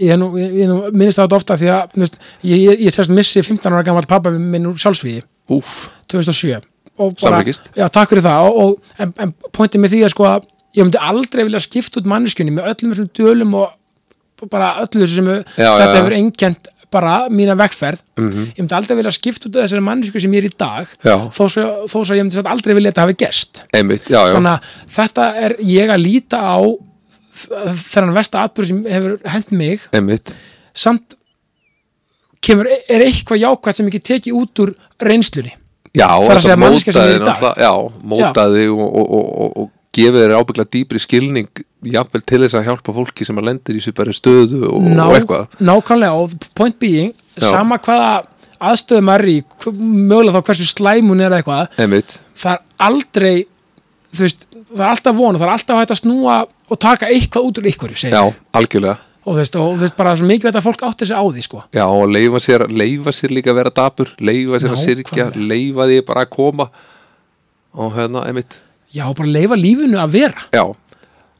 ég, er nú, ég, ég er nú minnist það ofta því að, þú veist, ég, ég, ég sérst missi 15 ára gammal pappa minn úr sjálfsvíði. Úf, 2007 og Samlíkist. já, takk fyrir það og, og, en, en pointið með því að sko að ég myndi aldrei vilja skipta út manneskjunni með öllum þessum dölum og og bara öllu þessu sem Já, þetta já, já. hefur engjönd bara mína vegferð ég myndi aldrei vilja skipta út þessari manneskju sem ég er í dag Já. þó svo, þó svo ég myndi satt aldrei vilja að þetta hafi gerst einmitt, já, já þannig að þetta er ég að líta á þennan versta atbyrð sem hefur hent mig Einmitt, samt kemur, er eitthvað jákvæmt sem ég get tekið út úr reynslunni já, að segja manneskja sem er í mótaði dag. náttúrulega- Já, mótaði og, og, og, og, og gefið þér ábyggla dýpri skilning jafnvel til þess að hjálpa fólki sem að lendir í svipari stöðu og, Ná, og eitthvað nákvæmlega og point being, Já. sama hvaða aðstöðum er í, hv- mögulega þá hversu slæm hún er eða eitthvað, Einmitt, það er aldrei þú veist, það er alltaf vona, það er alltaf hægt að snúa og taka eitthvað út úr ykkur já, algjörlega og þú veist, og þú veist bara svo mikið að fólk átti sig á því sko Já, og leifa sér, leifa sér líka að vera dapur leifa sér að syrkja, Nákvæmlega. leifa því bara að koma og hérna, einmitt já, bara leifa lífinu að vera Já,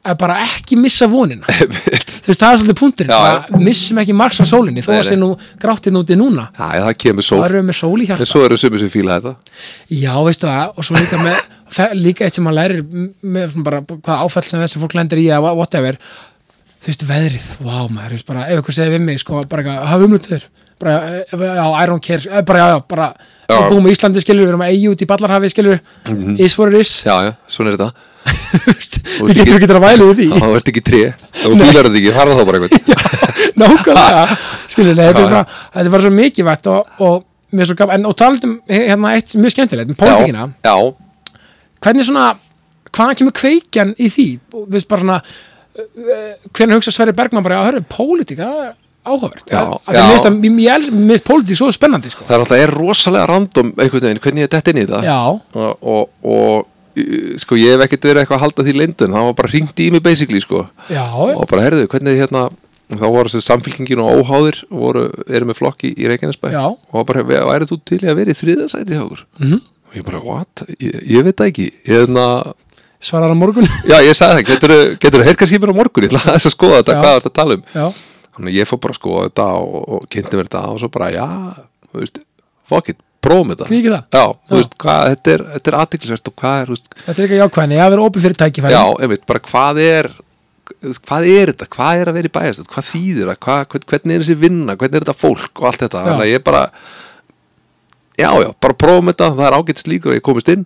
að bara ekki missa vonina einmitt þú veist, það er svolítið punkturinn, Já, það missum ekki margs á sólinni, þó Nei, að sé nei. nú gráttinn úti núna, Já, já, það kemur sól það eru við með sól í hjarta En svo eru sumir sem fíla þetta Já, veistu það, og svo líka með það, er líka eitt sem maður lærir m- með svona bara hvaða áfæll sem þessi fólk lendir í eða wha- whatever, þú veist, veðrið wow, maður, þú veist, bara, ef ykkur segir við mig sko, bara eitthvað, hafa umlutur bara, eh, já, I don't care, eh, bara, já, já, bara Já. Mhm. við búum í Íslandi, skilur, við erum að eigi út í Ballarhafi skilur, is what it is Já, já, svona er þetta Þú veist, Og við ekki- getum ekki að væla yfir Já, því, Þú ert ekki tré, þú fílar þetta ekki, farða þá bara eitthvað nákvæmlega skilur, nei, þetta er Já, já. bara þetta er bara svo mikilvægt og, og mér er svo gaf, en og talandum, hérna, eitt mjög skemmtilegt, um pólitíkina Já, já hvernig svona hvaðan kemur kveikjan í því Og við veist bara svona uh, hvernig hugsa Sverri Bergman bara að höra pólitík, það er áhugavert Já, að, að já. ég veist að mér- mér els- mér veist pólitík svo spennandi sko. það er alltaf er rosalega random einhvern veginn hvernig ég dett inn í það já, og, og, og uh, sko ég hef ekkert verið eitthvað að halda því lindun það var bara hringt í mig basically sko Já, og bara herðu hvernig hérna þá voru þessi samfélkingin og óháðir voru, eru með flokki í Reykjanesbæ Já. og bara værið þú til í að vera í þriðasæti hjá okkur Mhm. og ég bara what, ég, ég veit það ekki hérna, svarar á morgun já ég sagði það, geturðu getur heyrt kannski mér á morgun, ég ætla aðeins að skoða þetta Já. hvað það að tala um, Já, þannig að ég fór bara að skoða þetta og, og kynnti mér þetta og svo bara já, þú veist, fuck it prófum þetta, Kvíkir það. já, Já. þú veist hvað, þetta er, þetta er aðtiklisvert og hvað er, þú veist þetta er eitthvað jákvæðni, ég hafa verið opið fyrir tækifæri Já, einmitt, bara hvað er hvað er þetta, hvað er að vera í bæjastöð hvað þýðir það, hvað, hvern- hvernig er þessi vinna hvernig er þetta fólk og allt þetta Já. þannig að ég bara, já já, bara prófum þetta, það er ágætt slíkur að ég komist inn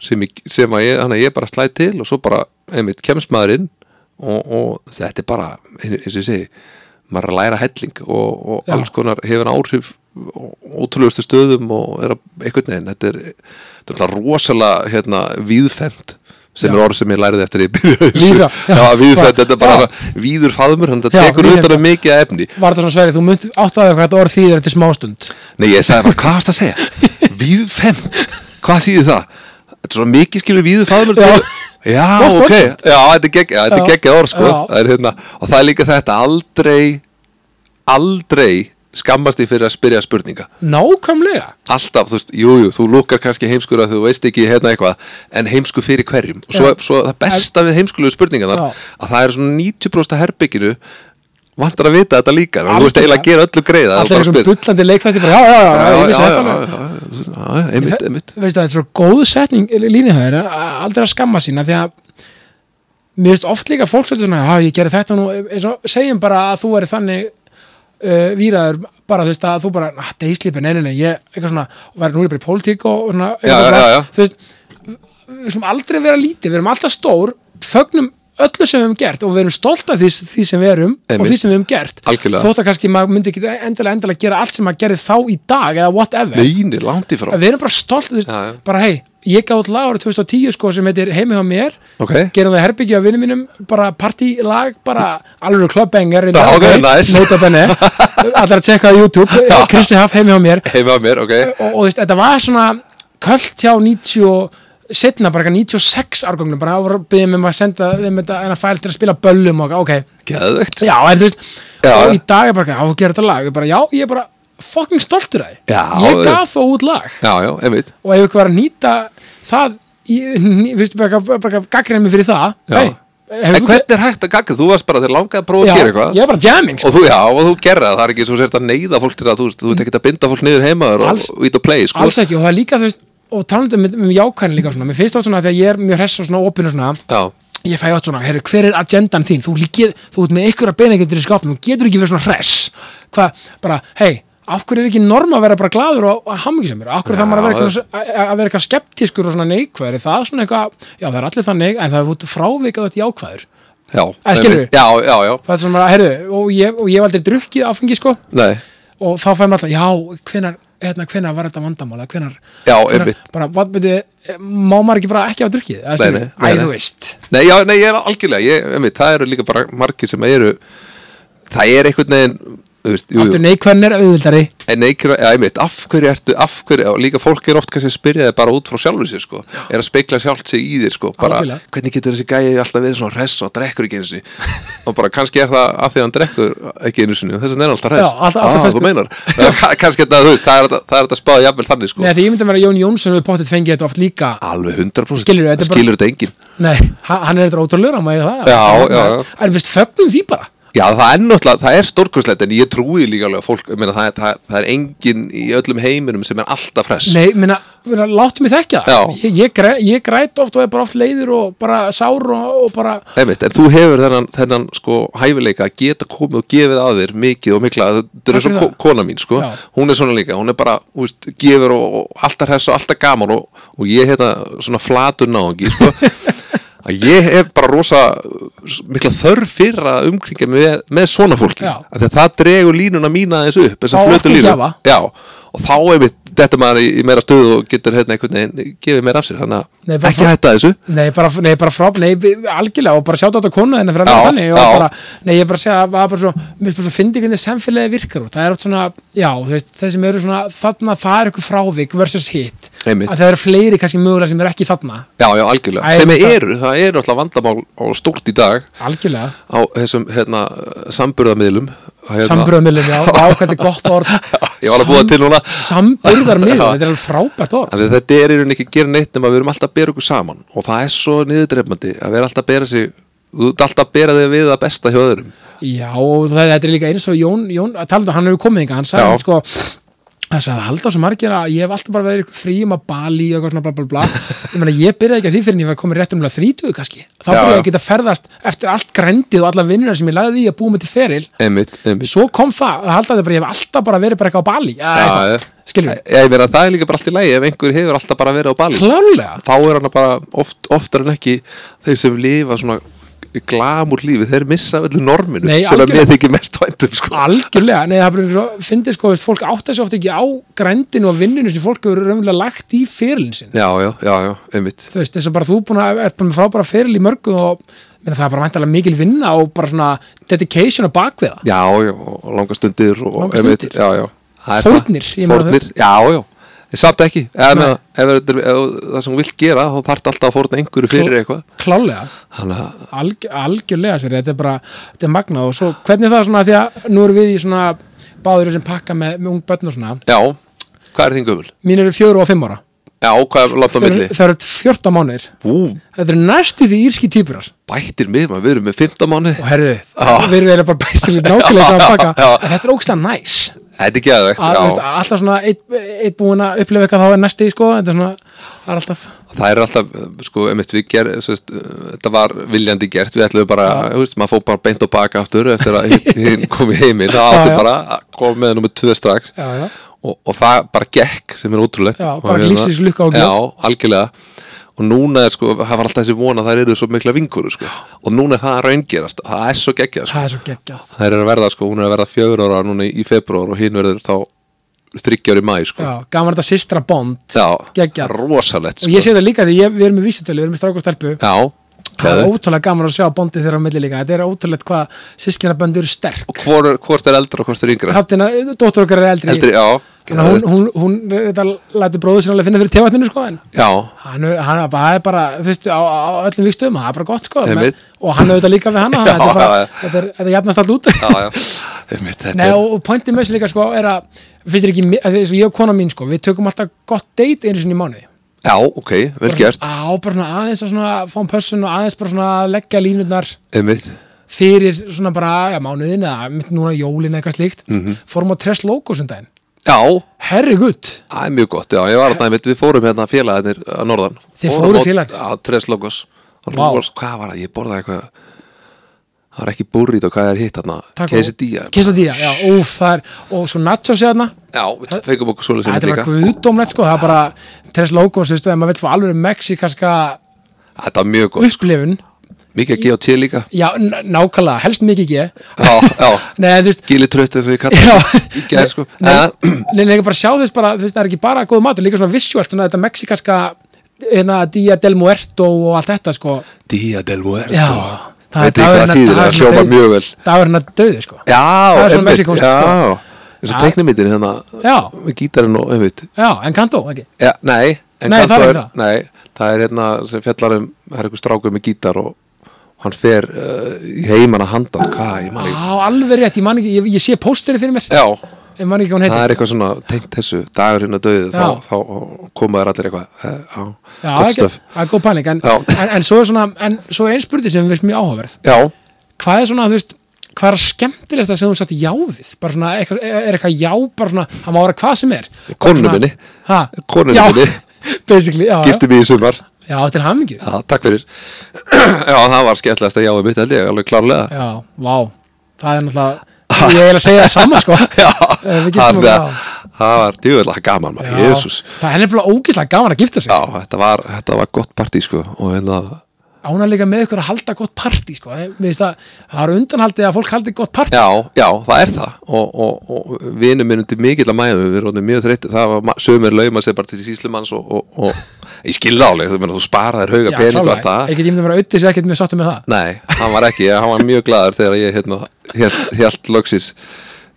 sem, ég, sem að ég, þannig að ég bara slæð til og svo bara, einmitt, kemst maður inn og, og þetta er bara eins og ég segi, maður er að læra helling og, og Já. alls konar hefur áhrif og ótrúlegustu stöðum og er að einhvern veginn, þetta er, þetta er alltaf rosalega hérna, víðfemt sem Já. er orð sem ég lærið eftir að ég byrja Víða, já. já, víðfemt, Já. þetta er bara víður faðmur, þannig Já, að þetta tekur víðfemt. utan að mikið af efni Var þetta svona sverið, þú mynd áttaði hvað þetta orð þýðir eftir smástund Nei, ég sagði bara, hvað varst að segja? Víðfemt, hvað þýðir það? Þetta er svona mikið skilur víðu faðmur Já. til- Já, Gott ok, já, þetta er gegg- já, þetta er Já. geggjað orð sko Já. það er, hérna, og það er líka þetta, aldrei aldrei skammast því fyrir að spyrja spurninga Nákvæmlega alltaf, þú veist, jú, jú, þú lukkar kannski heimskur að þú veist ekki hérna eitthvað en heimsku fyrir hverjum og svo, Já. svo það besta við heimskulegu spurningarnar Já. að það er svona 90% af herbygginu vantar að vita þetta líka þannig að þú veist eiginlega að gera öllu greiða það er Allir bara að einhverjum spyrja. bullandi leikþætti bara, já, já, já, já, Já, ég já, vissi já, þetta alveg. já, já, þú veist, já, já, einmitt, einmitt Veistu, það er svo góð setning eh, línið það er aldrei að skamma sína því að mér finnst oft líka fólk svolítið svona, já ég gerði þetta nú eins og segjum bara að þú er þannig uh, víraður, bara þú veist að þú bara að deyslipin, nei, nei, nei, ég eitthvað svona og væri nú er ég bara í pólitík og og svona Já, já, já, já. þú veist við slum aldrei vera lítið, við erum alltaf stór fögnum öllu sem við höfum gert og við erum stolt af því, því sem við erum og Einmitt. því sem við höfum gert Algjörlega. þótt að kannski maður myndi ekki endilega endilega gera allt sem maður gerði þá í dag eða whatever neini, langt í frá að við erum bara stolt þú veist, Já, já. bara hei, ég gaf út lag árið 2010 sko, sem heitir Heimi hjá mér ok, gerum það herbyggja á vinnum mínum bara partílag, bara hérna. alveg klubbengar Já, ok, nice. notabenni allar að tjekka á YouTube, Kristi Haff Heimi hjá mér heima á mér, ok og, og þú veist, þetta var svona kvöld hjá 90 og setna bara eitthvað 96 árgögnum bara að byrja með maður um að senda þeim þetta en að fæl til að spila böllum og ok, geðvegt, já, en þú veist Já. og í dag er bara, já, þú gerir þetta lag ég bara, já, ég er bara fucking stoltur að Já, því ég já. gaf þó út lag já, já, einmitt og ef ykkur var að nýta það í, ný, viðstu, bara, bara gaggremi fyrir það Já. hey, en hvernig er hægt að gagga, þú varst bara þegar langaði að prófa að gera eitthvað ég er bara jamming sko. og þú, já, og þú gerði það, það er ekki svo sért að neyða fólk til það, þú veist, þú ert ekki að binda fólk niður heima þér og Alls- ít og play, sko alls ekki og það er líka þú veist og talandum með, með jákvæðin líka svona mér finnst það svona þegar ég er mjög hress og svona opinn og svona já, ég fæ átt svona, herru, hver er agendan þín þú, líkið, þú ert með ykkur að beina ekkert í skápnum þú getur ekki verið svona hress hvað, bara, hei, af hverju er ekki norma að vera bara gladur og, og hammingisemur af hverju Já. það maður að vera eitthvað, að- að vera eitthvað skeptískur og svona neikvæður, er það svona eitthvað já, það er allir þannig, en það er út frávikað þetta jákvæður já, Eh, skilurðu? einmitt. já, já, já, það er svona, herðu, og ég, og ég hef aldrei drukkið áfengi sko, nei og þá fæm alltaf já, hvenar, hérna, hvenar var þetta vandamála hvenar, Já, hvenar einmitt. bara, hvað byrju, má maður ekki bara ekki hafa drukkið eða Nei, skilur, nei, nei, æ, nei. þú veist Nei, já, nei, ég er algjörlega, ég, einmitt, það eru líka bara margir sem eru Það er einhvern veginn, þú veist, jú, Sko. aftur jú neikvæðin er auðvildari En neikir, já, einmitt, af hverju ertu, af hverju og Líka fólk er oft kannski að spyrja þið bara út frá sjálfur sér, sko Er að speikla sjálft sig í þér, sko Bara, Algjörlega. hvernig getur þessi gæi alltaf verið svona hress og drekkur ekki einu sinni Og bara, kannski er það af því að hann drekkur ekki einu sinni Þess að hann er alltaf hress Já, alltaf- sko. alltaf ah, ferskur. þú meinar Já, ka- Kannski þetta, þú veist, það er, hægt að- það er þetta spáði jafnvel þannig, sko Nei, því ég myndi að vera Jón Jónsson við pottet fengið þetta oft líka Alveg 100% Skilurðu, þetta er Það bara- skilur þetta enginn Nei, ha- hann er eitthvað ótrúlegur, hann mæði það Já, já, já. En veist, fögnum því bara Já, það er náttúrulega, það er stórkurslegt en ég trúi líka alveg að fólk, ég meina, það, er- það, það er enginn í öllum heiminum sem er alltaf fress. Nei, minna, minna láttu mig þekka það Já. ég, ég, græ, ég græt oft og er bara oft leiður og bara sár og, og bara Einmitt, en þú hefur þennan, þennan sko hæfileika að geta komið og gefið að þér mikið og mikla, þetta er Takk svo fyrir ko- það. kona mín sko, Já. hún er svona líka, hún er bara, þú veist, gefur og, og alltaf hress og alltaf gaman og, og ég heita svona flatur náðungi sko, að ég hef bara rosa s- mikla þörf fyrir að umkringja með, með svona fólki, Já. af því að það dregur línuna mína aðeins upp, þess Á að flötu okkar línu. gjafa. Já, og þá einmitt dettur maður í, í meira stuð og getur hérna einhvern veginn gefið meira af sér þannig Nei, að bara ekki frá- hætta þessu Nei, bara, nei, bara frá, nei, við- algjörlega og bara sjáta þetta konu henni fyrir að Já, mér þannig og já. bara, nei, ég er bara að segja að það er bara svo, mér finnst bara svo fyndi hvernig samfélagi virkar og það er oft svona, já, þú veist, þeir sem eru svona þarna, það er eitthvað frávik versus hitt einmitt, að það eru fleiri kannski mögulega sem eru ekki þarna já já algjörlega Æ, sem þetta- eru, það eru alltaf vandamál á stórt í dag algjörlega, á þessum hérna samburðamiðlum hérna, sambröðmiðlum, já, já, hvað þetta er gott orð ég var að búa til núna sambröðarmiðlum, Já. þetta er alveg frábært orð Af því að þetta er í rauninni ekki að gera neitt nema við erum alltaf að bera okkur saman og það er svo niðurdrefnandi að vera alltaf að bera sig þú ert alltaf að bera þig við það besta hjá öðrum Já, og það, þetta er líka eins og Jón, Jón að tala um það, hann hefur komið þingar, hann sagði Já. hann sko hann sagði halda á svo margir að ég hef alltaf bara verið í einhverju fríum að Bali og eitthvað svona bla bla bla ég meina ég byrjaði ekki á því fyrir en ég var komin rétt umlega 30 kannski, þá Já, byrjaði ég já. að geta ferðast eftir allt grendið og alla vinnuna sem ég lagði í að búa mig til feril, einmitt, einmitt. svo kom það að halda þetta bara, ég hef alltaf bara verið bara eitthvað á Bali eða eitthvað, Já, skilur já, ég meina það er líka bara allt í lagi ef einhver hefur alltaf bara verið á bali klálega þá er hann bara oft, oftar en ekki þeir sem lifa svona glamur lífi, þeir missa öllu norminu Nei, sem að algjörlega. mér þykir mest væntum sko. algjörlega, nei það er bara einhver svo, fyndið sko, veist, fólk átta sig ofta ekki á grendinu og vinnunum sem fólk hefur raunlega lagt í ferilin sinn já, já, já, já, einmitt þú veist, eins og bara þú búin að ert bara með frábæra feril í mörgu og minna, það er bara væntalega mikil vinna og bara svona dedication á bakviða já, já, og langar stundir og, Langar einmitt, stundir. já, já. Það er það. Fórnir, ég meina fórnir, já, já En Samt ekki, ef, Nei. ef, ef, þetta er- ef það sem hún vilt gera þá þarf alltaf að fórna einhverju fyrir Kló- eitthvað klálega, Þannig að, alg, algjörlega sér, þetta er bara, þetta er magnað og svo hvernig er það svona því að nú erum við í svona báður sem pakka með, með ung börn og svona já, hvað er þín gömul? mín eru fjóru og fimm ára, Já, hvað er látt á það milli? eru- það eru 14 mánir Ú, þetta eru næstu því írski týpurar bættir mig, maður, við erum með 15 mánu og herðu, Já. við erum eiginlega bara bæstir í nákvæmlega saman pakka, Já. en þetta er ógstlega næs Þetta er geðvegt, að, veist, já alltaf svona eitt, eitt búin að upplifa eitthvað þá er næsti sko, þetta er svona, það er alltaf Það er alltaf, eh, sko, einmitt við ger sest, Þetta var viljandi gert, við ætlum bara þú veist, maður fór bara beint og baka aftur eftir að hin- hinn kom í heiminn það Já, átti já. bara að koma með nummer 2 strax já, já. og, og það bara gekk sem er ótrúlegt Já, Og bara hérna- lífsins lukka og gjöf. já, algjörlega og núna er sko, það var alltaf þessi von að það eru svo mikla vinkur sko. og núna er það að raungerast það er svo geggjað sko. það er svo geggjað það er að verða sko, hún er að verða fjögur ára núna í februar og hinn verður þá þryggjar í mæ sko. já, gaman þetta systra bond já, Geggjað. rosalegt og sko. ég sé það líka því ég, við erum í vísutölu, við erum í stráku og stelpu já, það er geðveikt. ótrúlega gaman að sjá bondið þeirra á milli líka þetta er ótrúlega hvað sískinabönd eru sterk og hvor, hvort er eldra og hvort er yngra hattina, dóttur okkar er eldri, eldri, já, Þannig að hún, geðveikt. hún, hún, hún þetta lætur bróður sinna alveg finna fyrir tevatninu sko en já, hann, hann það er bara, þú veist, á, á öllum vikstöðum það er bara gott sko Einmitt. og hann auðvitað líka við hana þannig að þetta er bara, Já, já, já. þetta er, þetta jafnast allt út já, já Einmitt, þetta Nei, er- og, og pointið með þessu líka sko er að finnst þér ekki, mi- að því eins og ég og kona mín sko við tökum alltaf gott date einu sinni í mánuði já, ok, vel gert á, bara svona aðeins að svona fá um pössun og aðeins bara svona að leggja línurnar einmitt, fyrir svona bara já, mánuðin eða mitt núna jólin eða eitthvað slíkt Mhm. fórum á Tres Logos um daginn já herrigutt, Það er mjög gott, já, ég var að dæmið, við fórum hérna félagarnir að norðan Þið Fórum fóruð á- félagar? Já, Tres Logos Vá. Logos, Hvað var það, ég borðaði eitthvað Það var ekki burrít og hvað er hitt hérna Taco. Quesadilla Quesadilla, já, úf, það er og svo nachos hérna, Já, við feikum okkur svoleið þetta sem er bara líka guðdómlegt sko, það er bara Tres Logos, þú veist, ef maður vill fá alveg mexikanska Þetta var mjög gott, upplifun mikið að gefa til líka já, n- nákvæmlega, helst mikið ekki Já, já, Nei, en þú veist, gili trött eins og ég kalla Já. það Í gær sko Nei, Eða, nei, nei, bara sjá þess bara, þú veist, það er ekki bara góð matur, líka svona visuált, svona þetta mexikaska hérna, Dia del Muerto og allt þetta, sko. Dia del Muerto Já, það er Veit ég hvað það þýðir, það hljóma dauði- mjög vel dagurinn að dauði, sko. Já, er svona sko. einmitt, mexíkónskt, Já, eins og Já. teknimitin hérna Já, Með gítarinn og einmitt já, en kanto, ekki. Já, nei, en Nei, Kanto það er er, það. Nei, það er hérna sem fjallar um, það er einhver strákur með gítar og og hann fer uh, í heimann að handan, hvað, ég man Já, ekki alveg rétt, ég man ekki, ég, ég sé pósteri fyrir mér, Já, ég man ekki hvað hún það heitir. er eitthvað svona tengt þessu, dagurinn að döðu þá, Já. þá koma þær allir eitthvað eh, Já, Já, gott ekki- stöf það er góð pæling, en, Já. en, en svo er svona, en svo er einn spurning sem við erum mjög áhugaverð. Já, Hvað er svona, þú veist, hvað er skemmtilegst að sem þú satt já við? Bara svona, eitthvað, er eitthvað já, bara svona, það má vera hvað sem er. konunni minni Ha? konunni Já. minni, Basically, já, já. gifti mig í sumar Já, til hamingju Já, takk fyrir Já, það var skemmtilegast að jáa mitt held ég, alveg klárlega Já, vá, það er náttúrulega Ég er að segja það sama, sko Já, Eh, við giftum það okkur, það- það var djúðlega gaman, maður, Já, Jesús Það er nefnilega ógislega gaman að gifta sig Já, þetta var, þetta var gott partí sko og hérna að hún er líka með ykkur að halda gott partí sko. Ég- mér finnst það, það er undanhaldið að fólk haldi gott partí Já, já, það er það og, og, og vinur minn undir mikill að mæðu við erum mjög þreytti, það var ma- sömur lauma sér bara til síslumanns og, og, og ég skilða áleg, þú meina þú sparaðir hauga pening og allt það ekki tímum að vera auðvitað sér ekkert mjög sáttum með það Nei, hann var ekki, hann var mjög glaður þegar ég hérna, hélt, hélt loksis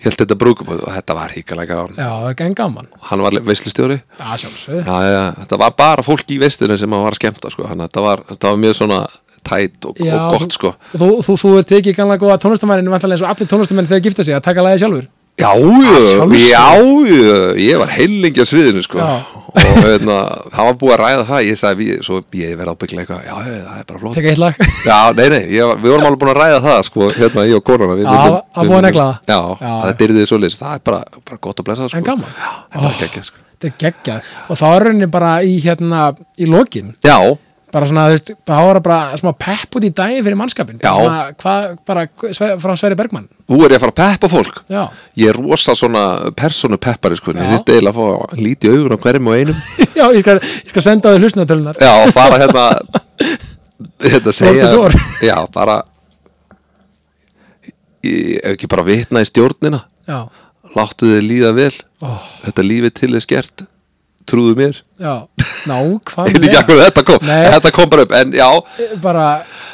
hélt þetta brúkum og þetta var híkalega gaman. já, það er en gaman, hann var veislustjóri það sjálfsög já, já, þetta var bara fólk í veistunum sem hann var að skemmta sko. hann, þetta, var, þetta var mjög svona tætt og, Já, og gott sko þú, þú, þú tekið ganlega góða tónlustamærin vantanlega eins og allir tónlustamenn þegar gifta sig að taka lagið sjálfur Já, já, sjálfsögðu. já, já, ég var heilingi á sviðinu sko Já. og hérna, það var búið að ræða það ég sagði, við, svo ég verði ábygglega eitthvað já, já, það er bara flott teka eitt lag Já, nei, nei, ég, var- við vorum alveg búin að ræða það sko, hérna, ég og konana við Já, vildum- að búið að við vildum- negla það. Já, Já, já já. það dyrðið svo leys, það er bara, bara gott að blessa sko. En gaman. Já, þetta Ó. er ekki sko. þetta er geggjað og þá er rauninni bara í hérna í lokin Já, bara svona, þú veist, þá er það bara smá pepp út í daginn fyrir mannskapin Já. svona, hvað, bara sve, frá Sverri Bergmann nú er ég að fara að peppa fólk já, Ég er rosa svona persónu peppari sko, en Já. ég þyrfti eiginlega að fá að líti augun á hverjum og einum já ég, skal, ég skal senda þau hlustnatölunar Já, og fara hérna Hérna segja door. Já, bara Ég hef ekki bara vitna í stjórnina já, Láttu þið líða vel ó, Þetta lífið til þess gert Trúðu mér já Ég veit ekki nákvæmlega akkur þetta kom Nei. Þetta kom bara upp En já, bara,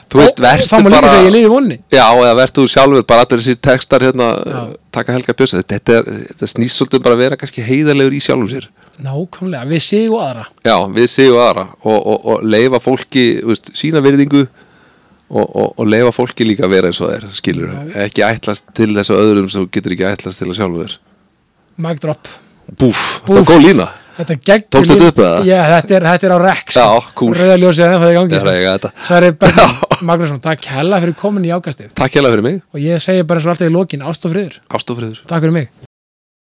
þú veist, Ó, vertu þá má líka bara- segja ég liði vonni já eða vertu þú sjálfur Bara allir þessir textar hérna Já. Taka helga bjösa Þetta, er, þetta snýst svolítið um bara að vera kannski heiðarlegur í sjálfum sér nákvæmlega, við sig og aðra Já, við séu aðra og, og, og leifa fólki þú veist, sína virðingu og, og, og leifa fólki líka að vera eins og þeir skilur, ekki ætlast til þessu öðrum sem þú getur ekki ætlast til að sjálfu þér mic drop, Búf, þetta Búff. er góð lína þetta er geggjum Tókstu þetta upp eða? já, þetta er, þetta er á rek sko. Já, kúl. rauðaljósið en það er í gangi Þetta er sko. að eiga þetta. Sverri Bergmann, Magnússon, takk hella fyrir komin í ákastið Takk hérlega fyrir mig, og ég segi bara eins og alltaf í lokin ást og friður, ástofriður takk fyrir mig